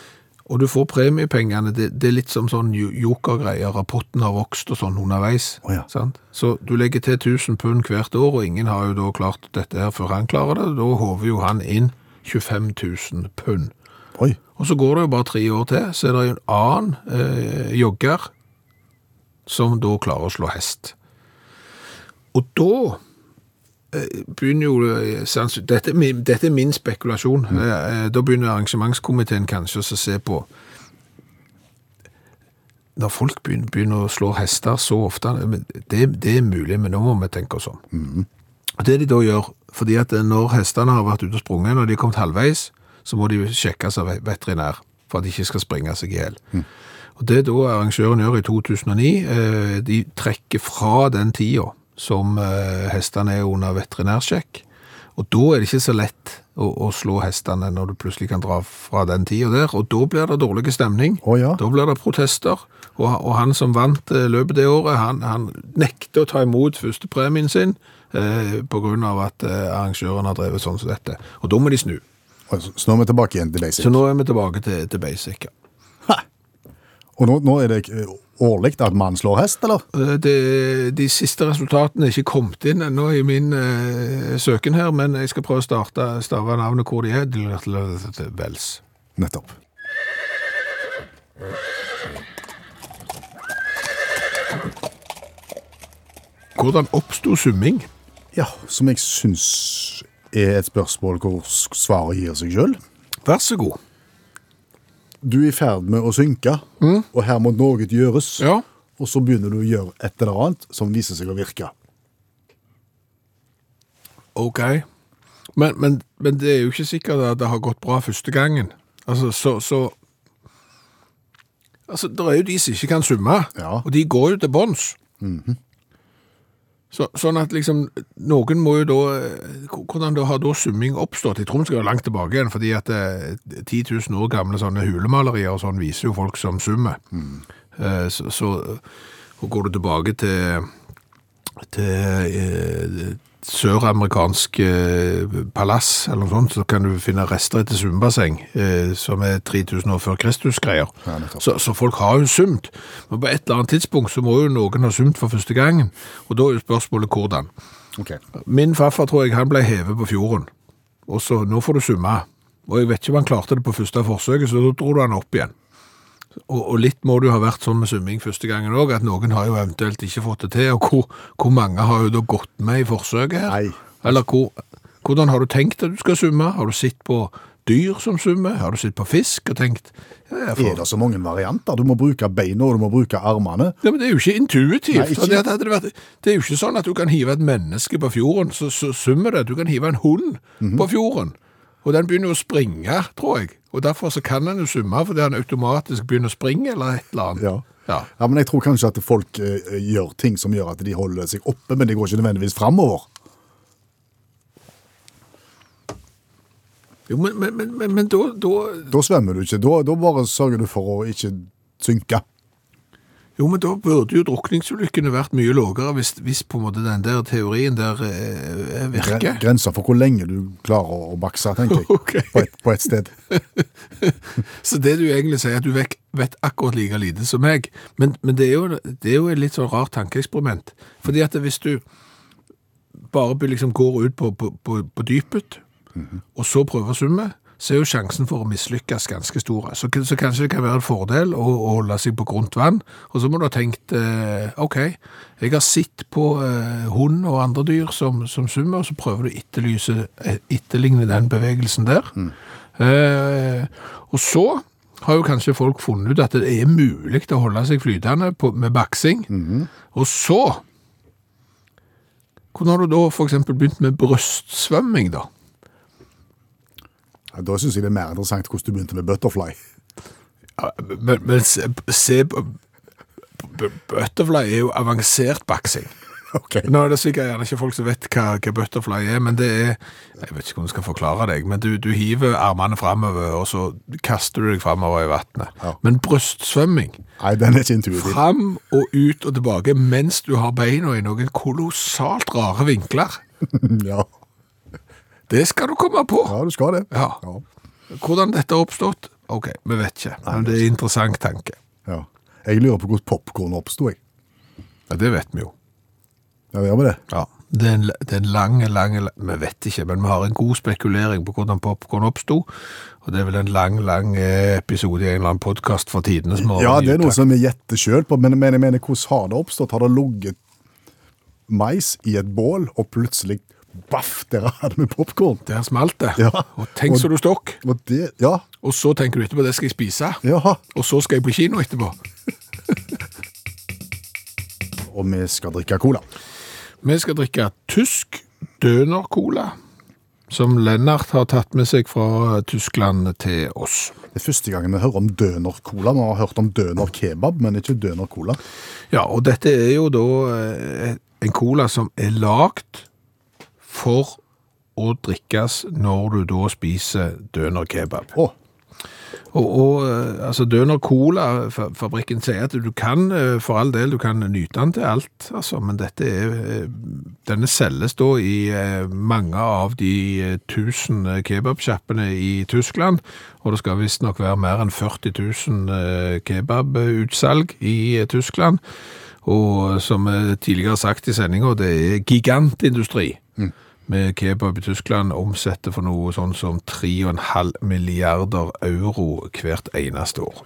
Speaker 2: Og du får premiepengene, det, det er litt som sånn jo- jokergreier, rapporten har vokst og sånn underveis.
Speaker 3: Å ja.
Speaker 2: sant? Så du legger til 1000 pund hvert år, og ingen har jo da klart dette her før han klarer det. Da håver jo han inn 25 000 pund.
Speaker 3: Oi.
Speaker 2: Og så går det jo bare tre år til, så er det jo en annen eh, jogger som da klarer å slå hest. Og da eh, begynner jo eh, sans- dette, er min- dette er min spekulasjon. Eh, eh, Da begynner arrangementskomiteen kanskje også å se på Når folk begynner, begynner å slå hester så ofte men det, det er mulig, men nå må vi tenke oss om. Og Det de da gjør, fordi at eh, når hestene har vært ute og sprunget, når de er kommet halvveis, så må de sjekkes av veterinær for at de ikke skal springe seg i hjel. Og Det da arrangøren gjør i 2009, eh, de trekker fra den tida som eh, hestene er under veterinærsjekk. Og da er det ikke så lett å, å slå hestene når du plutselig kan dra fra den tida der. Og da blir det dårlig stemning.
Speaker 3: Å ja.
Speaker 2: Da blir det protester. Og, og han som vant eh, løpet det året, han, han nekter å ta imot førstepremien sin eh, pga. at eh, arrangøren har drevet sånn som dette. Og da må de snu.
Speaker 3: Så så nå er vi tilbake igjen til basic.
Speaker 2: Så nå er vi tilbake til, til basic. ja.
Speaker 3: Og nå, nå er det eh, årlig at mann slår hest, eller?
Speaker 2: Eh, Det, de siste resultatene er ikke kommet inn ennå i min eh, søken her, men jeg skal prøve å starte, stave navnet hvor de er. Vels.
Speaker 3: Nettopp.
Speaker 2: Hvordan oppsto summing?
Speaker 3: Ja, som jeg syns er et spørsmål hvor s- svaret gir seg sjøl.
Speaker 2: Vær så god.
Speaker 3: Du er i ferd med å synke, og her må noe gjøres.
Speaker 2: Mm. Ja.
Speaker 3: Og så begynner du å gjøre et eller annet som viser seg å virke.
Speaker 2: Ok. Men, men, men det er jo ikke sikkert at det har gått bra første gangen. Altså, så, så Altså, det er jo de som ikke kan summe,
Speaker 3: Ja.
Speaker 2: og de går jo til bånds. så, sånn at liksom Noen må jo da eh, Hvordan da har da summing oppstått? Jeg tror vi skal jo langt tilbake igjen, fordi at eh, 10 000 år gamle sånne hulemalerier og sånn viser jo folk som summer. Eh, så, så og går du tilbake til til eh, søramerikansk eh, palass eller noe sånt, så kan du finne rester etter svømmebasseng, eh, som er 3000 år før Kristus-greier.
Speaker 3: Ja, nettopp.
Speaker 2: så, så folk har jo svømt. Men på et eller annet tidspunkt så må jo noen ha svømt for første gangen. Og da er jo spørsmålet hvordan.
Speaker 3: Ok.
Speaker 2: Min farfar tror jeg han ble hevet på fjorden. Og så, nå får du summe. Og jeg vet ikke om han klarte det på første forsøket, så da dro du han opp igjen. Og, og litt må det jo ha vært sånn med summing første gangen òg, at noen har jo eventuelt ikke fått det til. Og hvor, hvor mange har jo da gått med i forsøket her?
Speaker 3: Nei.
Speaker 2: Eller hvor, hvordan har du tenkt at du skal summe? Har du sett på dyr som summer? Har du sett på fisk og tenkt ja, jeg får-
Speaker 3: Er det så mange varianter? Du må bruke beina, og du må bruke armene.
Speaker 2: Ja, men Det er jo ikke intuitivt.
Speaker 3: Nei, ikke-
Speaker 2: Og Det, at hadde det, vært, det er jo ikke sånn at du kan hive et menneske på fjorden, så, så summer det. Du kan hive en hund
Speaker 3: Mhm.
Speaker 2: på fjorden, og den begynner jo å springe, tror jeg. Og Derfor så kan den jo summe, fordi han automatisk begynner å springe eller et eller annet.
Speaker 3: Ja.
Speaker 2: Ja.
Speaker 3: Ja, men jeg tror kanskje at folk eh, gjør ting som gjør at de holder seg oppe, men de går ikke nødvendigvis framover.
Speaker 2: Jo, men, men, men, men, men da, da
Speaker 3: Da svømmer du ikke. Da, da bare sørger du for å ikke synke.
Speaker 2: Jo, men da burde jo drukningsulykkene vært mye lavere hvis, hvis på en måte den der teorien der eh,
Speaker 3: Gre-
Speaker 2: virker.
Speaker 3: Grenser for hvor lenge du klarer å bakse, tenker jeg.
Speaker 2: Ok.
Speaker 3: På, et, på et sted.
Speaker 2: Så det du egentlig sier, er at du vek, vet akkurat like lite som meg. Men, men det, er jo, det er jo et litt sånn rart tankeeksperiment. Fordi at hvis du bare by- liksom går ut på, på, på, på dypet, og så prøver å summe, så er jo sjansen for å mislykkes ganske stor. Så, k- så kanskje det kan være en fordel å, å holde seg på grunt vann. Og så må du ha tenkt eh, OK, jeg har sett på eh, hund og andre dyr som, som summer, og så prøver du å etterlyse, eh, etterligne den bevegelsen der. Eh, og så har jo kanskje folk funnet ut at det er mulig å holde seg flytende på, med baksing. Og så Hvordan har du da f.eks. begynt med brystsvømming, da?
Speaker 3: Ja, Da syns jeg det er mer interessant hvordan du begynte med butterfly.
Speaker 2: Ja, Men, men se, se på- b- Butterfly er jo avansert baksing.
Speaker 3: Ok.
Speaker 2: Nå er det sikkert gjerne ikke folk som vet hva, hva butterfly er, men det er Jeg vet ikke hvordan jeg skal forklare deg, men du, du hiver armene framover, og så kaster du deg framover i vannet.
Speaker 3: Ja.
Speaker 2: Men brystsvømming
Speaker 3: Nei, den er ikke intuitiv.
Speaker 2: Fram og ut og tilbake mens du har beina i noen kolossalt rare vinkler.
Speaker 3: Ja.
Speaker 2: Det skal du komme på.
Speaker 3: ja, du skal det.
Speaker 2: Ja. Hvordan dette har oppstått? Ok, vi vet ikke, men det er en interessant tanke.
Speaker 3: Ja. Jeg lurer på hvordan popkorn oppsto, jeg.
Speaker 2: Ja, det vet vi jo.
Speaker 3: Ja, gjør vi det?
Speaker 2: Ja. Det er en, det er en lang, lang Vi vet ikke, men vi har en god spekulering på hvordan popkorn oppsto. Og det er vel en lang, lang eh, episode i en eller annen podkast for tidenes morgen.
Speaker 3: Ja, det er noe
Speaker 2: Takk.
Speaker 3: som vi gjetter sjøl på, men, men jeg mener, hvordan har det oppstått? Har det ligget mais i et bål, og plutselig baff, der hadde vi popkorn?
Speaker 2: Der smalt det.
Speaker 3: Ja.
Speaker 2: Og tenk så
Speaker 3: Og-
Speaker 2: du stokk.
Speaker 3: Og det Ja,
Speaker 2: Og så tenker du etterpå, det skal jeg spise.
Speaker 3: ja.
Speaker 2: Og så skal jeg på kino etterpå.
Speaker 3: Og vi skal drikke cola.
Speaker 2: Vi skal drikke tysk Døner-cola, som Lennart har tatt med seg fra eh, Tyskland til oss.
Speaker 3: Det er første gangen vi hører om døner-cola. Vi har hørt om døner-kebab, men ikke døner-cola.
Speaker 2: Ja, og dette er jo da eh, en cola som er lagd for å drikkes når du da spiser døner-kebab.
Speaker 3: Å,
Speaker 2: Og, og eh, altså døner-cola-fabrikken sier at du kan, eh, for all del, du kan nyte den til alt, altså, men dette er, eh, denne selges da i eh, mange av de eh, tusen eh, kebabsjappene i Tyskland, og det skal visstnok være mer enn 40 000 eh, kebabutsalg i eh, Tyskland. Og som eh, tidligere sagt i sendinga, det er gigantindustri. Med kebab i Tyskland omsetter for noe sånn som 3,5 milliarder euro hvert eneste år.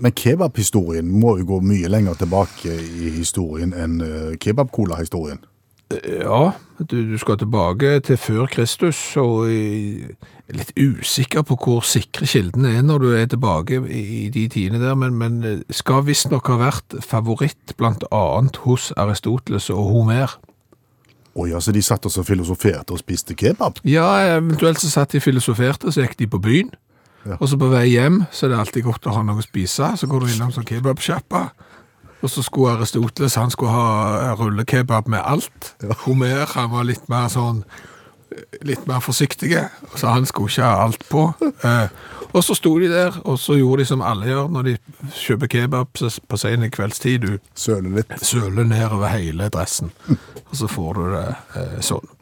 Speaker 3: Men kebabhistorien må jo gå mye lenger tilbake i historien enn eh, kebab-cola-historien.
Speaker 2: Ja, du, du skal tilbake til før Kristus, og jeg er litt usikker på hvor sikre kildene er når du er tilbake i i de tidene der, men, men skal visstnok ha vært favoritt blant annet hos Aristoteles og Homer.
Speaker 3: Å ja, så de satt og så filosoferte og spiste kebab?
Speaker 2: Ja, eventuelt så satt de filosoferte, så gikk de på byen. Og så på vei hjem, så er det alltid godt å ha noe å spise. Så går du innom sånn kebabsjappa. Og så skulle Aristoteles han skulle ha rullekebab med alt. Homer han var litt mer sånn litt mer forsiktige, så han skulle ikke ha alt på. Eh, og så sto de der, og så gjorde de som alle gjør når de kjøper kebab så s- på sen kveldstid. Du
Speaker 3: Søle litt.
Speaker 2: søler nedover hele dressen, og så får du det eh, sånn.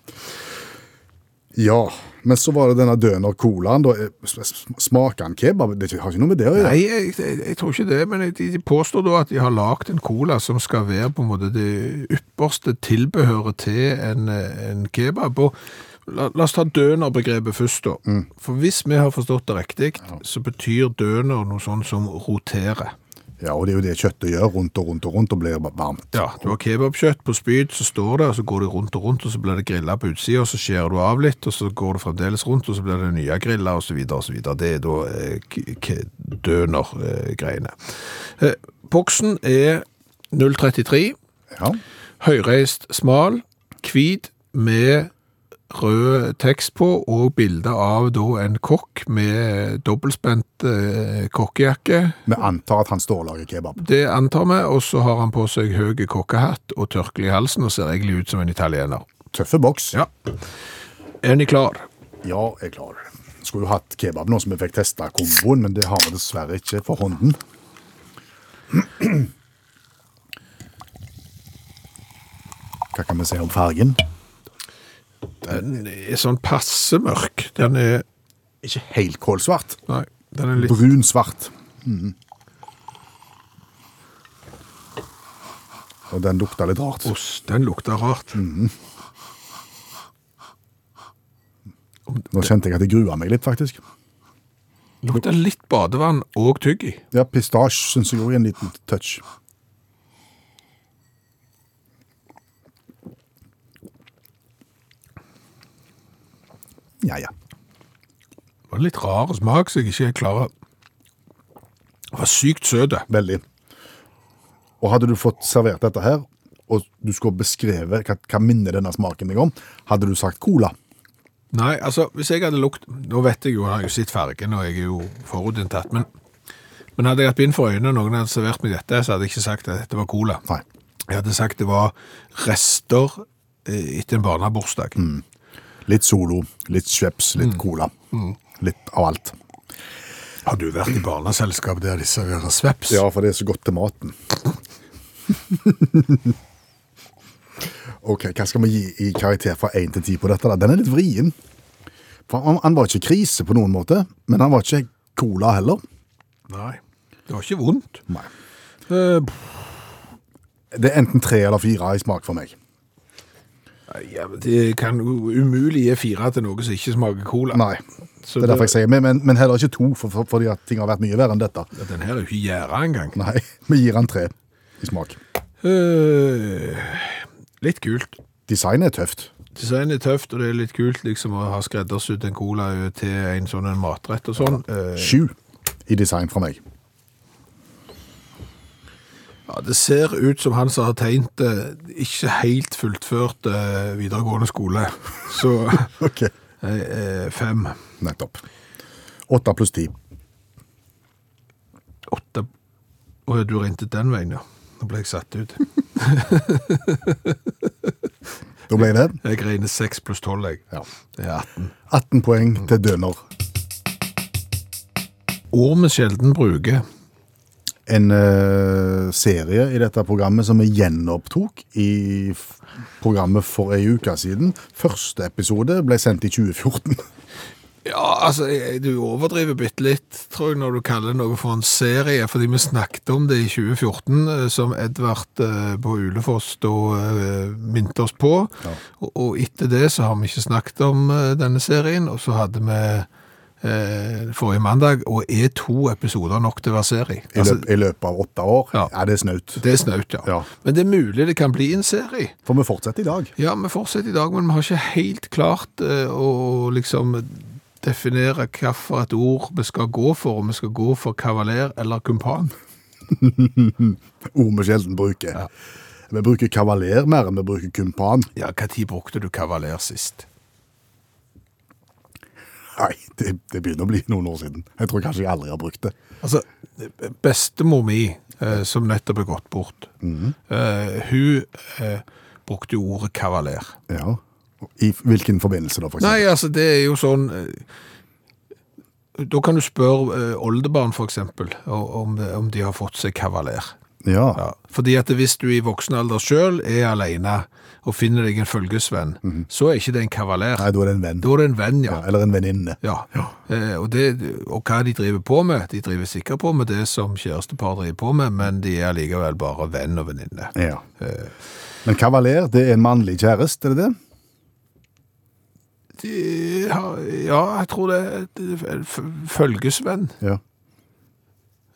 Speaker 3: Ja. Men så var det denne døner-colaen. da. Eh, s- s- Smaker han kebab? Det har ikke noe med det å gjøre.
Speaker 2: Nei, jeg, jeg, jeg tror ikke det, men de, de påstår da at de har lagd en cola som skal være på en måte det ypperste tilbehøret til en, eh, en kebab. Og la, la oss ta dønerbegrepet først, da. For hvis vi har forstått det riktig, så betyr døner noe sånn som rotere.
Speaker 3: Ja, og det er jo det kjøttet gjør rundt og rundt og rundt og blir bare varmt.
Speaker 2: Ja, du har kebabkjøtt på spyd, så står det, og så går det rundt og rundt, og så blir det grilla på utsida, og så skjærer du av litt, og så går det fremdeles rundt, og så blir det nye griller, og så videre, og så videre. Det er da eh, k- k- døner-greiene. Eh, boksen er 033,
Speaker 3: Ja.
Speaker 2: høyreist smal, hvit, med rød tekst på, og bilde av da en kokk med dobbeltspent eh, kokkejakke,
Speaker 3: Vi antar at han står og lager kebab.
Speaker 2: det antar vi, og så har han på seg høy kokkehatt og tørkle i halsen og ser egentlig ut som en italiener.
Speaker 3: Tøffe boks.
Speaker 2: Ja. Er ni klar?
Speaker 3: ja jeg er klar. Skulle jo hatt kebab nå som vi fikk testa komboen, men det har vi dessverre ikke for hånden. Hva kan vi si om fargen?
Speaker 2: Den er sånn passe mørk. Den er
Speaker 3: Ikke helt kålsvart.
Speaker 2: Nei, den er litt
Speaker 3: Brun-svart. Mhm. Og den lukta litt rart.
Speaker 2: Ost, den lukter rart.
Speaker 3: Nå kjente jeg at jeg grua meg litt, faktisk.
Speaker 2: Lukter litt badevann og tygg i.
Speaker 3: Ja, pistasje syns jeg òg er en liten touch. Ja, ja.
Speaker 2: Det var Litt rar smak som jeg ikke helt klarer Den var sykt søt.
Speaker 3: Veldig. Og hadde du fått servert dette her, og du skulle beskrevet hva, hva minner denne smaken deg om, hadde du sagt cola.
Speaker 2: Nei, altså, hvis jeg hadde lukt Nå vet jeg jo, jeg har jo sett fargen, og jeg er jo forutinntatt, men, men hadde jeg hatt bind for øynene og noen hadde servert meg dette, så hadde jeg ikke sagt at dette var cola.
Speaker 3: Nei.
Speaker 2: Jeg hadde sagt det var rester eh, etter en barnebursdag.
Speaker 3: Mm. Litt Solo, litt Schweppes, litt cola. Litt av alt.
Speaker 2: Har du vært i barneselskap der de serverer sveps?
Speaker 3: Ja, for det er så godt til maten. OK, hva skal vi gi i karakter fra 1 til 10 på dette? da? Den er litt vrien. For han, han var ikke krise på noen måte, men han var ikke cola heller.
Speaker 2: Nei. Det var ikke vondt.
Speaker 3: Nei.
Speaker 2: Eh,
Speaker 3: Det er enten tre eller fire i smak for meg.
Speaker 2: ja, men det kan jo umulig gi fire til noe som ikke smaker cola.
Speaker 3: Nei.
Speaker 2: Så
Speaker 3: Det er derfor jeg sier men, men, men heller ikke to, for, for, fordi at ting har vært mye verre enn dette.
Speaker 2: Ja, Den her er jo ikke gjæra engang.
Speaker 3: Nei, vi gir han tre i smak.
Speaker 2: Eh, litt kult.
Speaker 3: Designet er tøft.
Speaker 2: Design er tøft, og det er litt kult liksom å ha skreddersydd en cola til en sånn en matrett og sånn. Eh,
Speaker 3: Sju i design fra meg.
Speaker 2: Ja, det ser ut som han som har tegnet det, ikke helt fulltført eh, videregående skole. Så
Speaker 3: Ok,
Speaker 2: jeg er fem.
Speaker 3: nettopp. Åtte pluss ti.
Speaker 2: Åtte Å, du regnet den veien, ja. Nå ble jeg satt ut.
Speaker 3: Da ble det
Speaker 2: Jeg regner seks pluss tolv, jeg.
Speaker 3: Ja.
Speaker 2: Det er 18.
Speaker 3: 18 poeng til Døner.
Speaker 2: Ord vi sjelden bruker.
Speaker 3: En eh, serie i dette programmet som vi gjenopptok i f programmet for ei uke siden. Første episode ble sendt i 2014.
Speaker 2: Ja, altså, jeg, du overdriver bitte litt, tror jeg, når du kaller noe for en serie, fordi vi snakket om det i 2014, eh, som Edvard eh, på Ulefoss da eh, minte oss på. Og, og etter det så har vi ikke snakket om eh, denne serien, og så hadde vi eh, forrige mandag, og er to episoder nok til hver serie?
Speaker 3: I,
Speaker 2: Altså,
Speaker 3: løp, I løpet av åtte år. Ja,
Speaker 2: Ja.
Speaker 3: det er snaut.
Speaker 2: det er snaut, ja.
Speaker 3: Ja.
Speaker 2: Men det er mulig det kan bli en serie.
Speaker 3: For vi fortsetter i dag.
Speaker 2: Ja, vi fortsetter i dag, men vi har ikke helt klart eh, å liksom definere hva for et ord vi skal gå for, om vi skal gå for kavaler eller kumpan.
Speaker 3: Ord vi sjelden bruker. Vi bruker kavaler mer enn vi bruker kumpan.
Speaker 2: Ja, hva tid brukte du kavaler sist?
Speaker 3: Nei, det, det begynner å bli noen år siden. Jeg tror kanskje jeg aldri har brukt det.
Speaker 2: Altså, bestemor mi, eh, som nettopp er gått bort, eh, hun eh, brukte jo ordet kavaler.
Speaker 3: Ja. I hvilken forbindelse da, for eksempel?
Speaker 2: Nei, altså, det er jo sånn eh, Da kan du spørre eh, oldebarn, for eksempel, o- om, om de har fått seg kavaler.
Speaker 3: Ja.
Speaker 2: Ja, fordi at hvis du i voksen alder selv er alene og finner deg en følgesvenn, så er ikke det en kavaler.
Speaker 3: Mhm. Nei, da er det en venn.
Speaker 2: Da er det en venn, ja.
Speaker 3: Ja, eller en venninne.
Speaker 2: ja. Eh, og, det, og hva de driver på med, de driver sikkert på med det som kjærestepar driver på med, men de er allikevel bare venn og venninne.
Speaker 3: Ja. Men kavaler, det er en mannlig kjæreste, er det det?
Speaker 2: De har- Ja, jeg tror det er et f- følgesvenn.
Speaker 3: Ja.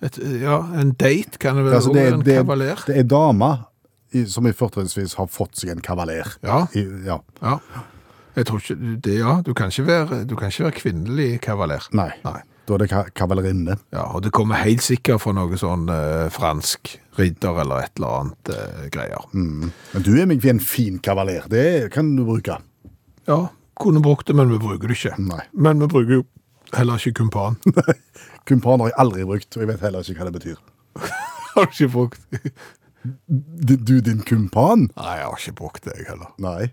Speaker 2: Et, ja, en date kan det være,
Speaker 3: Altså, det,
Speaker 2: også,
Speaker 3: er,
Speaker 2: en
Speaker 3: det,
Speaker 2: kavaler.
Speaker 3: er, det er dama i- som i fortrinnsvis har fått seg en kavaler.
Speaker 2: Ja.
Speaker 3: I, ja.
Speaker 2: Ja. Jeg tror ikke, det, ja, du kan ikke være, du kan ikke være kvinnelig kavaler.
Speaker 3: Nei.
Speaker 2: Nei.
Speaker 3: Da er det ka kavalerinne.
Speaker 2: Ja, og det kommer helt sikkert fra noe sånn eh, fransk ridder eller et eller annet eh, greier.
Speaker 3: Men du er meg en fin kavaler. Det kan du bruke.
Speaker 2: Ja, kunne brukt det, men vi bruker det ikke.
Speaker 3: Nei.
Speaker 2: Men vi bruker jo heller ikke kumpan.
Speaker 3: Kumpan har jeg aldri brukt, og jeg vet heller ikke hva det betyr.
Speaker 2: har du ikke brukt det?
Speaker 3: Du, du din kumpan?
Speaker 2: Nei, jeg har ikke brukt det, jeg heller.
Speaker 3: Nei.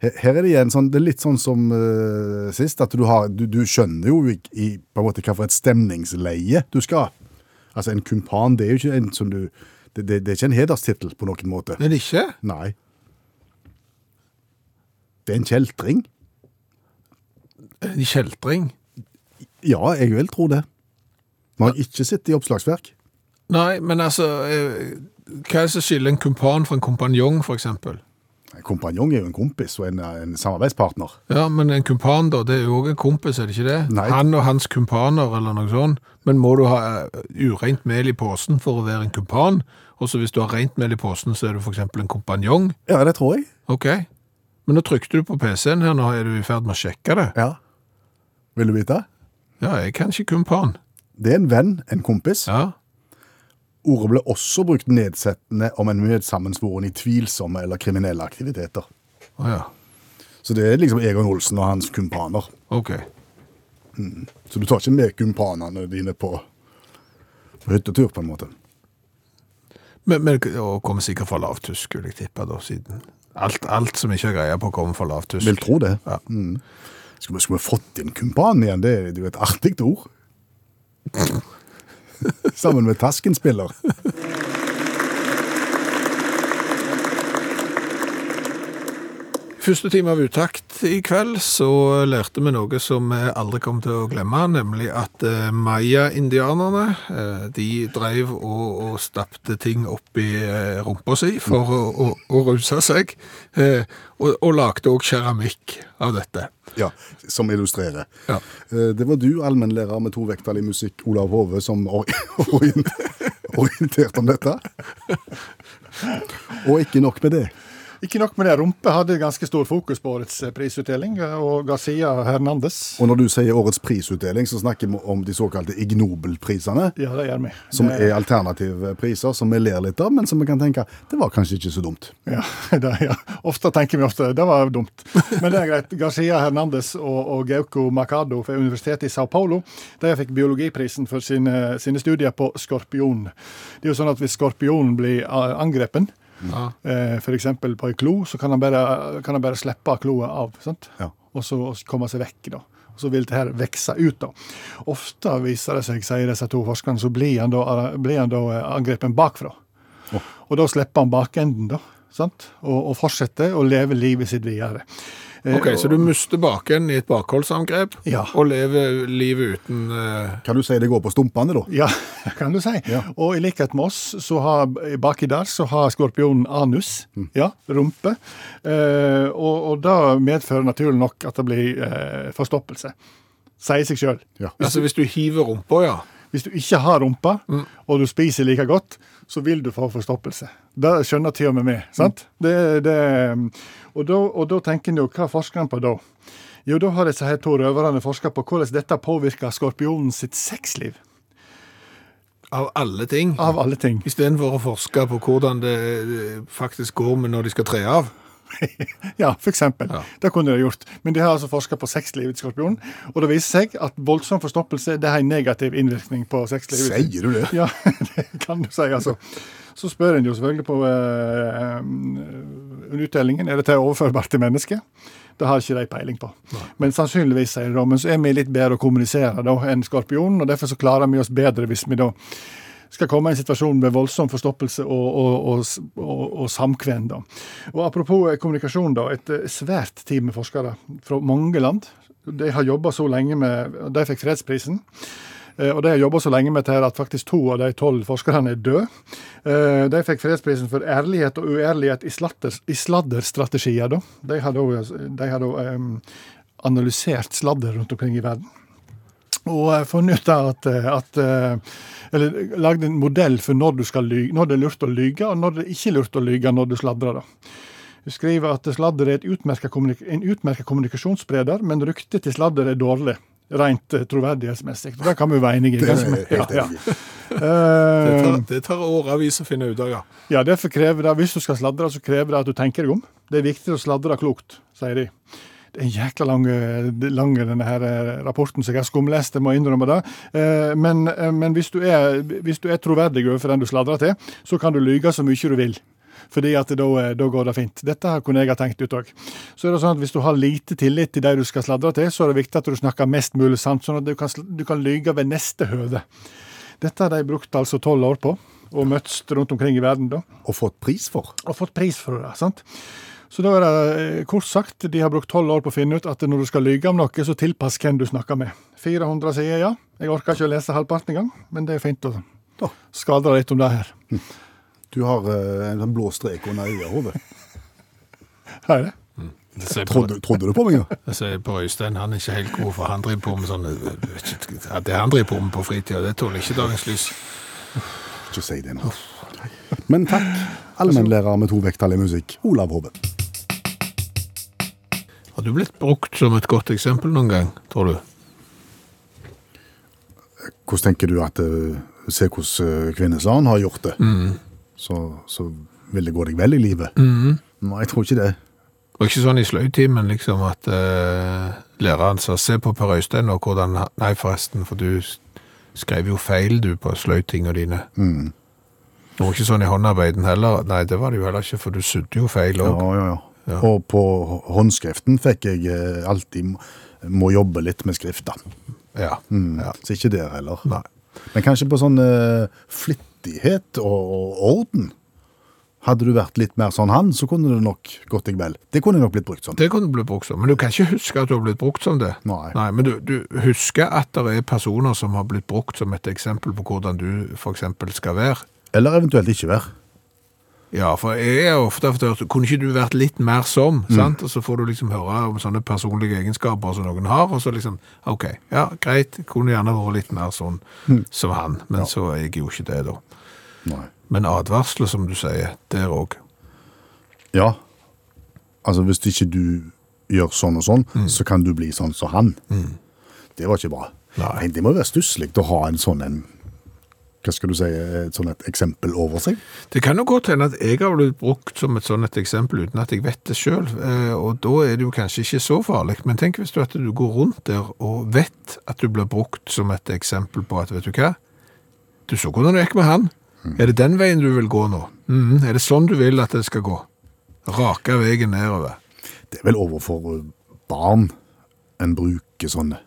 Speaker 3: Her, her er det igjen sånn, det er litt sånn som eh, sist, at du, har, du, du skjønner jo ikke i, på en måte hva for et stemningsleie du skal. Altså en kumpan, det er jo ikke en som du, det, det, det er ikke en hederstittel på noen måte.
Speaker 2: Men ikke?
Speaker 3: Nei. Det er en kjeltring.
Speaker 2: En kjeltring?
Speaker 3: Ja, jeg vil tro det. Vi har ikke sittet i oppslagsverk.
Speaker 2: Nei, men altså, eh, hva er det som skiller en kumpan fra en kompanjong, for eksempel?
Speaker 3: En kompanjong er jo en kompis og en, en samarbeidspartner.
Speaker 2: Ja, men en kumpan da, det er jo også en kompis, er det ikke det?
Speaker 3: Nei.
Speaker 2: Han og hans kumpaner eller noe sånt. Men må du ha eh, urent mel i posen for å være en kumpan? Og så hvis du har rent mel i posen, så er du for eksempel en kompanjong.
Speaker 3: Ja, det tror jeg.
Speaker 2: Ok. Men nå trykte du på PC-en her, nå er du i ferd med å sjekke det.
Speaker 3: Ja. Vil du vite?
Speaker 2: Ja, jeg kan ikke kumpan.
Speaker 3: Det er en venn, en kompis.
Speaker 2: Ja.
Speaker 3: Ordet ble også brukt nedsettende om en medsammensvoren i tvilsomme eller kriminelle aktiviteter.
Speaker 2: Å ja.
Speaker 3: Så det er liksom Egon Olsen og hans kumpaner.
Speaker 2: Ok.
Speaker 3: Så du tar ikke med kumpanene dine på, på hyttetur, på en måte.
Speaker 2: Men, men og kommer sikkert fra lavtysk, vil jeg tippe da, siden. Alt, alt som ikke har greie på kommer fra lavtysk.
Speaker 3: Vil tro det.
Speaker 2: Ja.
Speaker 3: Mm. Skulle, vi- skulle vi fått inn kumpan igjen? Det, er- det er jo et artig ord. Sammen med taskenspiller.
Speaker 2: Første time av uttakt i kveld så lærte vi noe som vi aldri kom til å glemme, nemlig at eh, maya-indianerne eh, de drev og, og stappte ting opp i eh, rumpa si for å, å, å ruse seg, eh, og, og lagde òg keramikk av dette.
Speaker 3: Ja, som illustrerer.
Speaker 2: Ja.
Speaker 3: Eh, Det var du, allmennlærer med to vekttall i musikk, Olav Hove, som ori- orien- orienterte om dette. Og ikke nok med det.
Speaker 5: Ikke nok med det, Rumpe hadde ganske stor fokus på årets eh, prisutdeling, eh, og Garcia Hernandez.
Speaker 3: Og når du sier årets prisutdeling, så snakker vi om de såkalte Ignobel-prisene.
Speaker 5: Ja, det gjør vi.
Speaker 3: Som
Speaker 5: Det-
Speaker 3: er alternative priser som vi ler litt av, men som vi kan tenke det var kanskje ikke så dumt.
Speaker 5: Ja, det, ja. Ofte tenker vi ofte det var dumt. Men det er greit. Garcia Hernandez og, og Gauco Macado fra Universitetet i Sao Paulo de fikk biologiprisen for sine, sine studier på skorpion. Det er jo sånn at Hvis skorpionen blir eh, angrepen, eh, f.eks. på ei klo, så kan han bare, kan han bare slippe kloa av. sant?
Speaker 3: Ja.
Speaker 5: Og så komme seg vekk. da. Og Så vil det her vokse ut. da. Ofte viser det seg, sier disse to forskerne, så blir han da, blir han da eh, angrepen bakfra. Og da slipper han bakenden, da. Sant? Og, og fortsetter å leve livet sitt videre. Eh,
Speaker 2: Ok, Så du mister baken i et bakholdsangrep
Speaker 5: Ja.
Speaker 2: og lever livet uten eh,
Speaker 3: Kan du si det går på stumpene, da?
Speaker 5: Ja, kan du si.
Speaker 3: Ja.
Speaker 5: Og i likhet med oss, så har, baki der så har skorpionen anus.
Speaker 3: Mm.
Speaker 5: Ja, rumpe. Eh, og, og det medfører naturlig nok at det blir eh, forstoppelse. Sier seg sjøl.
Speaker 3: Ja.
Speaker 2: Altså hvis du hiver rumpa, ja.
Speaker 5: Hvis du ikke har rumpa, og du spiser like godt, så vil du få forstoppelse. Det skjønner til og med vi. sant? Det, det, mm. og, da, og da tenker en jo, hva forsker en på da? Jo, da har disse her to røverne forska på hvordan dette påvirker skorpionen sitt sexliv.
Speaker 2: Av alle ting.
Speaker 5: Av alle ting.
Speaker 2: Istedenfor å forske på hvordan det eh, faktisk går med når de skal tre av.
Speaker 5: Ja, for eksempel. Det kunne de gjort. Men de har altså forska på sexlivet til skorpionen, og det viser seg at voldsom forstoppelse det har en negativ innvirkning på sexlivet.
Speaker 3: Sier du det?
Speaker 5: Ja, det kan du si, altså. Så spør en jo selvfølgelig på eh, eh, utdelingen er dette overførbart til mennesket. Det har ikke de peiling på. Men sannsynligvis sier de da, men så er vi litt bedre å kommunisere da enn skorpionen, og derfor så klarer vi oss bedre hvis vi da skal komme i en situasjon med voldsom forstoppelse og, og, og, s- og, og samkvem. Da. Og apropos eh, kommunikasjon, da, et eh, svært team med forskere fra mange land. De har jobba så lenge med De fikk fredsprisen. Eh, Og de har jobba så lenge med dette at faktisk to av de tolv forskerne er døde. Eh, De fikk fredsprisen for ærlighet og uærlighet i, slatter, i sladderstrategier. Da. De har da, eh, de har da em, analysert sladder rundt omkring i verden. Og eh, funnet ut da at, eh, at eh, Eller lagd en modell for når, du skal lyge, når det er lurt å lyge, og når det ikke er lurt å lyge når du sladrer. da. Hun skriver at sladder er et utmerket kommunik en utmerket kommunikasjonsspreder, men ryktet til sladder er dårlig. Rent eh, troverdighetsmessig. Og Det kan vi jo være enige i.
Speaker 3: Det er
Speaker 5: kanskje?
Speaker 3: jeg helt
Speaker 5: Ja, ja.
Speaker 3: enig i.
Speaker 2: Det
Speaker 5: Eh,
Speaker 2: tar, det tar årevis å finne ut av, ja.
Speaker 5: ja, derfor krever det, Hvis du skal sladre, så krever det at du tenker deg om. Det er viktig å sladre klokt, sier de. Det er en jækla lang, eh, lang denne her eh, rapporten, så jeg har skumlest, jeg må innrømme det. Eh, Men, eh, men hvis, du er, hvis du er troverdig overfor den du sladrer til, så kan du lyge så mye du vil. Fordi at da, eh, da går det fint. Dette her kunne jeg ha tenkt ut òg. Så er det sånn at hvis du har lite tillit til de du skal sladre til, så er det viktig at du snakker mest mulig sant, sånn at du kan, sl- du kan lyge ved neste høve. Dette har de brukt altså tolv år på, og møtts rundt omkring i verden, da
Speaker 3: Og fått pris for.
Speaker 5: og fått pris for det. sant? Så da er det eh, kort sagt, de har brukt tolv år på å finne ut at når du skal lyge om noe, så tilpass hvem du snakker med. 400 sider, ja. Jeg orker ikke å lese halvparten engang, men det er fint å
Speaker 3: Ja.
Speaker 5: skadre litt om det her.
Speaker 3: Du har eh, en blå strek under øyehodet.
Speaker 5: Her er det.
Speaker 2: Det sier på-
Speaker 3: Trodde, trodde du på meg? Ja?
Speaker 2: det sier på Øystein Altså, han er ikke helt god, for han driver på med sånn ja, Det han driver på med på fritida, det tåler ikke dagens lys.
Speaker 3: Ikke si det nå. Men takk, allmennlærer med to vekttall i musikk, Olav Hove.
Speaker 2: Har du blitt brukt som et godt eksempel noen gang, tror du?
Speaker 3: Hvordan tenker du at eh, Se hvordan eh, kvinnesland har gjort det, så, så vil det gå deg vel i livet? Nei, jeg tror ikke det.
Speaker 2: Og ikke sånn i sløytimen, liksom, at eh, læreren sa 'se på Per Øystein' og hvordan han- Nei, forresten, for du s- skrev jo feil, du, på sløytinga dine. Det var ikke sånn i håndarbeiden heller. Nei, det var det jo heller ikke, for du sudde jo feil
Speaker 3: Ja,
Speaker 2: òg.
Speaker 3: ja, ja. Og på håndskriften fikk jeg eh, alltid må- må jobbe litt med skrifta.
Speaker 2: Ja. ja.
Speaker 3: Så ikke der heller.
Speaker 2: Nei.
Speaker 3: Men kanskje på sånn eh, flittighet og, og orden. Hadde du vært litt mer sånn han, så kunne det nok gått deg vel. Det kunne nok blitt brukt sånn.
Speaker 2: Det kunne du blitt brukt som. Men du kan ikke huske at du har blitt brukt som det.
Speaker 3: Nei.
Speaker 2: men du, du husker at det er personer som har blitt brukt som et eksempel på hvordan du f.eks. skal være.
Speaker 3: Eller eventuelt ikke være.
Speaker 2: Ja, for jeg er ofte hatt hørt Kunne ikke du vært litt mer som? Sant? Og så får du liksom høre om sånne personlige egenskaper som noen har, og så liksom OK, ja, greit, kunne gjerne vært litt mer sånn som han, men så er jeg jo ikke det, da.
Speaker 3: Nei.
Speaker 2: Men advarsler, som du sier, der òg.
Speaker 3: Ja, Altså, hvis ikke du gjør sånn og sånn, så kan du bli sånn som han. Det var ikke bra.
Speaker 2: Nei.
Speaker 3: Nei, det må være stusslig å ha en sånn en Hva skal du si, et sånn et eksempel over seg?
Speaker 2: Det kan jo godt hende at jeg har blitt brukt som et sånt et eksempel uten at jeg vet det sjøl, og da er det jo kanskje ikke så farlig. Men tenk hvis du, at du går rundt der og vet at du blir brukt som et eksempel på at vet du hva, du så hvordan det gikk med han. Er det den veien du vil gå nå? Mhm, er det sånn du vil at det skal gå? Rake veien nedover.
Speaker 3: Det er vel overfor eh, barn en bruker sånn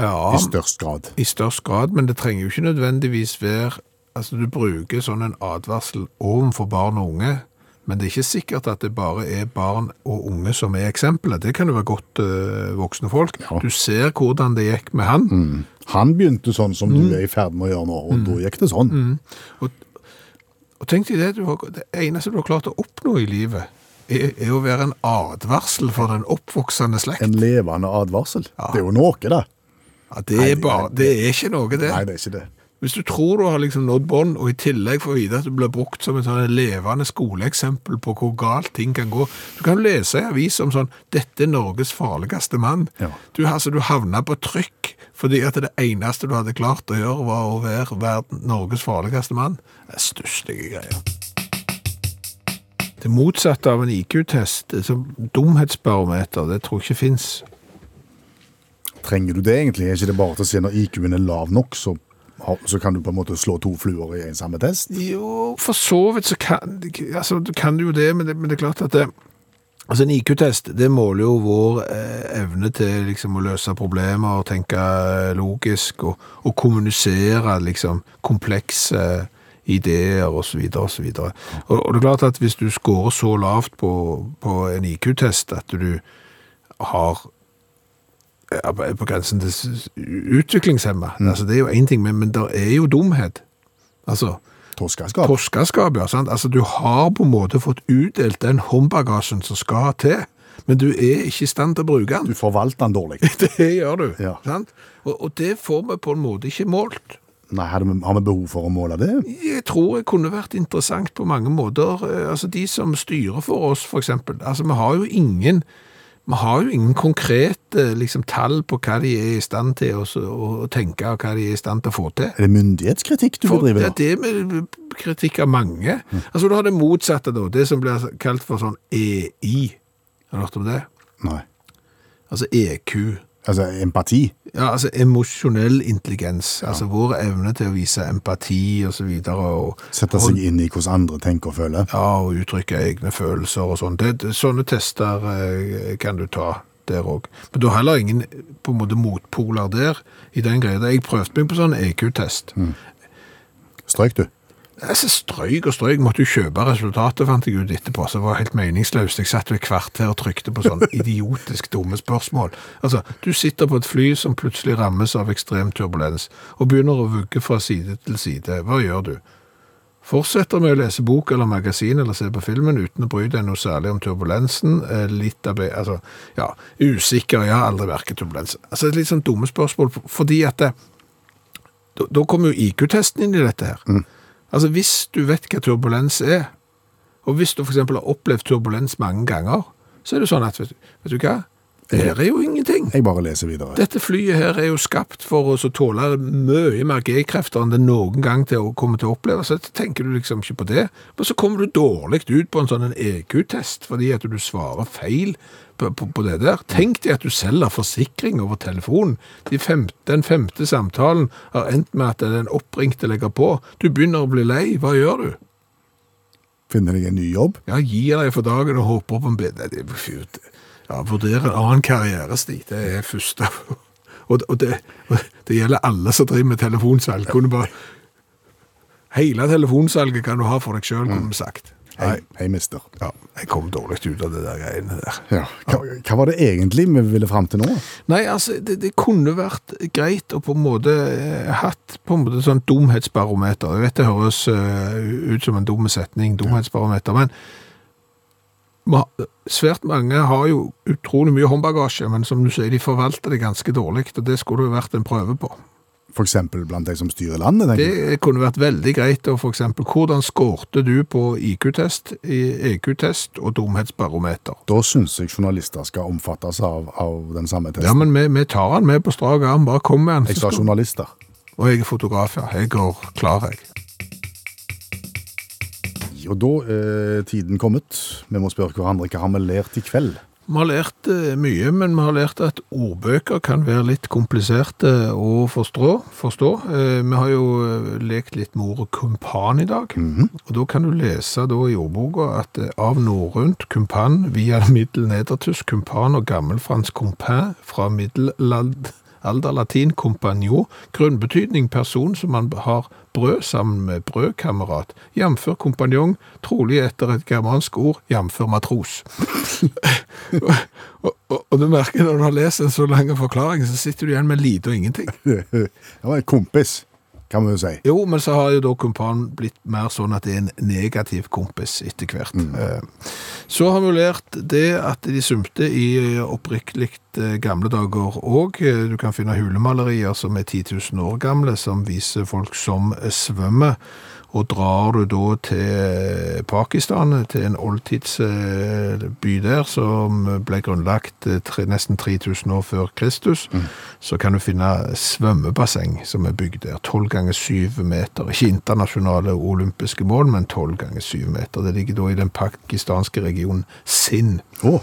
Speaker 2: Ja,
Speaker 3: i størst grad.
Speaker 2: i størst grad, men det trenger jo ikke nødvendigvis være Altså, du bruker sånn en advarsel overfor barn og unge, men det er ikke sikkert at det bare er barn og unge som er eksempelet. Det kan jo være godt eh, voksne folk.
Speaker 3: Ja. Mm.
Speaker 2: Du ser hvordan det gikk med han,
Speaker 3: Han begynte sånn som du er i ferd med å gjøre nå, og da gikk det sånn.
Speaker 2: og tenk deg det, du har, det eneste du har klart å oppnå i livet, er, er å være en advarsel for den oppvoksende slekt.
Speaker 3: En levende advarsel. Det er jo noe, da.
Speaker 2: Ja, det, er bare, det er ikke noe, det.
Speaker 3: Nei, det er ikke det.
Speaker 2: Hvis du tror du har liksom nådd bånd, og i tillegg får vite at du blir brukt som et sånn levende skoleeksempel på hvor galt ting kan gå Du kan jo lese i avis om sånn 'Dette er Norges farligste mann'.
Speaker 3: Ja.
Speaker 2: Du, altså, du havna på trykk fordi at det eneste du hadde klart å gjøre, var å være verden, Norges farligste mann. Det er stusslige greier. Det motsatte av en IQ-test, som sånn dumhetsbarometer, det tror jeg ikke fins.
Speaker 3: Trenger du det egentlig? Er ikke det bare til å si når IQ-en er lav nok, så, har- så kan du på en måte slå to fluer i en samme test?
Speaker 2: Jo, for så vidt så kan, altså, du kan du jo det, men det, men det er klart at det, altså en IQ-test, det måler jo vår eh, evne til liksom, å løse problemer og tenke eh, logisk og, og kommunisere liksom, komplekse eh, ideer og så videre og så videre. Og, og det er klart at hvis du scorer så lavt på, på en IQ-test at du har ja, på på grensen til s- utviklingshemmet, altså det er jo en ting, men, men det er jo dumhet. Altså,
Speaker 3: Torskaskap?
Speaker 2: Torskeskap, ja. Sant? Altså, du har på en måte fått utdelt den håndbagasjen som skal til, men du er ikke i stand til å bruke
Speaker 3: Du
Speaker 2: den.
Speaker 3: forvalter den dårlig.
Speaker 2: Det gjør du.
Speaker 3: Ja.
Speaker 2: Sant? Og, og det får vi på en måte ikke målt.
Speaker 3: Nei, har vi, har vi behov for å måle det?
Speaker 2: Jeg tror det kunne vært interessant på mange måter. Eh, Altså, de som styrer for oss, for eksempel. Altså, vi har jo ingen vi har jo ingen konkrete liksom, tall på hva de er i stand til å s- å tenke, og hva de er i stand til å få til.
Speaker 3: Er det myndighetskritikk du
Speaker 2: For, det
Speaker 3: bedriver?
Speaker 2: er det med kritikk av mange. Altså, du har det motsatte, da. Det som blir kalt for sånn EI. Har du hørt om det?
Speaker 3: Nei.
Speaker 2: Altså EQ.
Speaker 3: Altså, empati?
Speaker 2: Ja, altså emosjonell intelligens. Altså vår evne til å vise empati og så videre. Og,
Speaker 3: Sette seg inn i hvordan andre tenker og føler?
Speaker 2: ja, og uttrykke egne følelser og sånn. Det- det- Sånne tester eh, kan du ta der òg. Men du har heller ingen på en måte motpoler der. i den greia. Jeg prøvde meg på sånn EQ-test.
Speaker 3: Mm. Strøyk du?
Speaker 2: Altså, strøyk og strøyk. Måtte jo kjøpe resultatet, fant jeg ut etterpå. Så det var helt meningsløst. Jeg satt jo i kvarter og trykte på sånne idiotisk dumme spørsmål. Altså, du sitter på et fly som plutselig rammes av ekstrem turbulens, og begynner å vugge fra side til side. Hva gjør du? Fortsetter med å lese bok eller magasin eller se på filmen uten å bry deg noe særlig om turbulensen. eh, Litt av, be- altså, ja, usikker, jeg har aldri merket turbulens. Altså, det er litt sånn dumme spørsmål, fordi at det, da, da kommer jo IQ-testen inn i dette her. Altså, hvis du vet hva turbulens er, og hvis du for eksempel har opplevd turbulens mange ganger, så er det sånn at, vet, vet du hva, det her er jo ingenting.
Speaker 3: Jeg bare leser videre.
Speaker 2: Dette flyet her er jo skapt for oss å tåle mye mer G-krefter enn det noen gang til å komme til å oppleve, så tenker du liksom ikke på det. Men så kommer du dårlig ut på en sånn en EQ-test, fordi at du svarer feil på, på, på det der. Tenk deg at du selger forsikring over telefonen. De femte, den femte samtalen har endt med at den oppringte legger på. Du begynner å bli lei, hva gjør du?
Speaker 3: Finner deg en ny jobb?
Speaker 2: Ja, gir deg for dagen og håper på en bedre Nei, det er fy, det- Ja, vurdere en annen karrierestig. Det er første Og, og, det, og det gjelder alle som driver med telefonsalg. Kunne bare Hele telefonsalget kan du ha for deg sjøl, kunne vi sagt.
Speaker 3: Hei, hei mister.
Speaker 2: Ja, jeg kom dårlig ut av det der greiene der.
Speaker 3: Ja. Hva, hva var det egentlig vi ville fram til nå?
Speaker 2: Nei, altså, det, det kunne vært greit å på en måte eh, hatt på en måte sånn dumhetsbarometer. Jeg vet det høres eh, ut som en dum setning, dumhetsbarometer, men ma- svært mange har jo utrolig mye håndbagasje, men som du sier, de forvalter det ganske dårlig, og det skulle det vært en prøve på.
Speaker 3: F.eks. blant de som styrer landet. tenker jeg.
Speaker 2: Det kunne vært veldig greit å f.eks. Hvordan skårte du på IQ-test, i- EQ-test og dumhetsbarometer?
Speaker 3: Da syns jeg journalister skal omfattes av, av den samme testen.
Speaker 2: Ja, men vi, vi tar han med på strak arm, bare kom med han. så
Speaker 3: jeg sa
Speaker 2: skal-
Speaker 3: journalister.
Speaker 2: Og jeg er fotograf, ja. Jeg går klar, jeg.
Speaker 3: Og da er tiden kommet. Vi må spørre hverandre hva har vi lært i kveld.
Speaker 2: Vi har lært eh, mye, men vi har lært at ordbøker kan være litt kompliserte å forstå. forstå. Eh, Vi har jo eh, lekt litt med ordet kumpan i dag. Og da kan du lese da i ordboka at eh, av norrønt kumpan via middelnedertysk kumpan og gammelfransk compin fra middelalder latin compagnon, grunnbetydning person som man har brød sammen med brødkamerat, jamfør kompanjong, trolig etter et germansk ord, jamfør matros. Og, og, og du merker når du har lest en så lang forklaring, så sitter du igjen med lite og ingenting.
Speaker 3: Det var en kompis, kan vi jo si.
Speaker 2: Jo, men så har jo da kumpanen blitt mer sånn at det er en negativ kompis etter hvert. Eh, Så har vi jo lært det at de sumte i eh, oppriktig eh, gamle dager òg. Du kan finne hulemalerier som er 10 000 år gamle, som viser folk som eh, svømmer. Og drar du da til eh, Pakistan, til en eh, oldtidsby der, som ble grunnlagt eh, tre, nesten 3000 år før Kristus, så kan du finne svømmebasseng som er bygd der. 12 ganger 7 meter. Ikke internasjonale og olympiske mål, men 12 ganger 7 meter. Det ligger da i den pakistanske regionen Sinn.
Speaker 3: Å,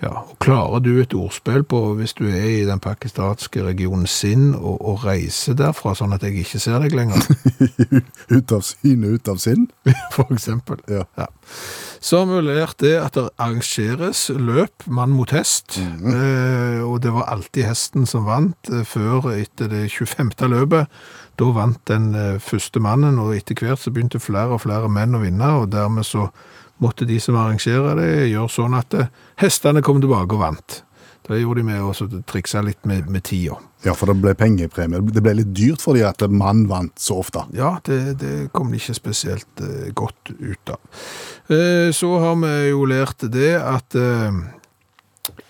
Speaker 2: Ja, og Klarer du et ordspill på hvis du er i den pakistanske regionen Sinn og, og reiser derfra, sånn at jeg ikke ser deg lenger?
Speaker 3: ut av syne, ut av sinn.
Speaker 2: for eksempel.
Speaker 3: Ja.
Speaker 2: Så har vi lært det at det arrangeres løp mann mot hest, eh, og det var alltid hesten som vant eh, før etter det 25. løpet. Da vant den eh, første mannen, og etter hvert så begynte flere og flere menn å vinne, og dermed så måtte de som arrangerer det gjøre sånn at eh, hestene kom tilbake og vant. Det gjorde de med å så trikse litt med, med tida.
Speaker 3: Ja, for det ble pengepremie. Det ble litt dyrt fordi at mann vant så ofte.
Speaker 2: Ja, det, det kom de ikke spesielt eh, godt ut av. Eh, så har vi jo lært det at eh,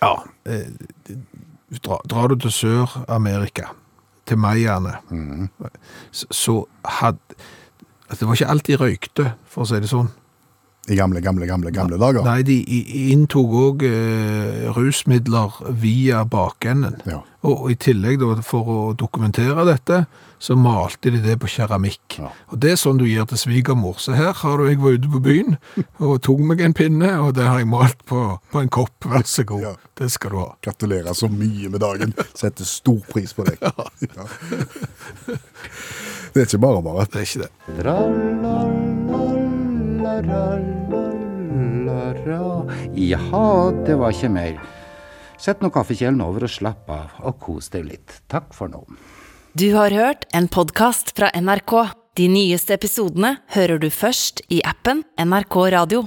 Speaker 2: Ja. Eh, dra, drar du til Sør-Amerika, til mayaene,
Speaker 3: Mm.
Speaker 2: Mhm. så, så hadde altså, Det var ikke alt de røykte, for å si det sånn.
Speaker 3: I gamle, gamle, gamle gamle dager.
Speaker 2: Nei, de i- inntok òg eh, rusmidler via bakenden.
Speaker 3: Ja.
Speaker 2: Og og i tillegg da, for å dokumentere dette, så malte de det på keramikk.
Speaker 3: Ja.
Speaker 2: Og det er sånn du gir til svigermor. Så her har du, jeg var ute på byen og tok meg en pinne, og det har jeg malt på, på en kopp. Vær så god.
Speaker 3: Ja.
Speaker 2: Det skal du ha.
Speaker 3: Gratulerer så mye med dagen. Setter stor pris på deg. Ja. Det er ikke bare bare.
Speaker 2: Det er ikke det.
Speaker 7: Tra-la-la-la-la-la-la. Jaha, det var ikke mer. Sett nå kaffekjelen over og slapp av, og kos deg litt. Takk for nå.
Speaker 1: Du har hørt en podkast fra NRK. De nyeste episodene hører du først i appen NRK Radio.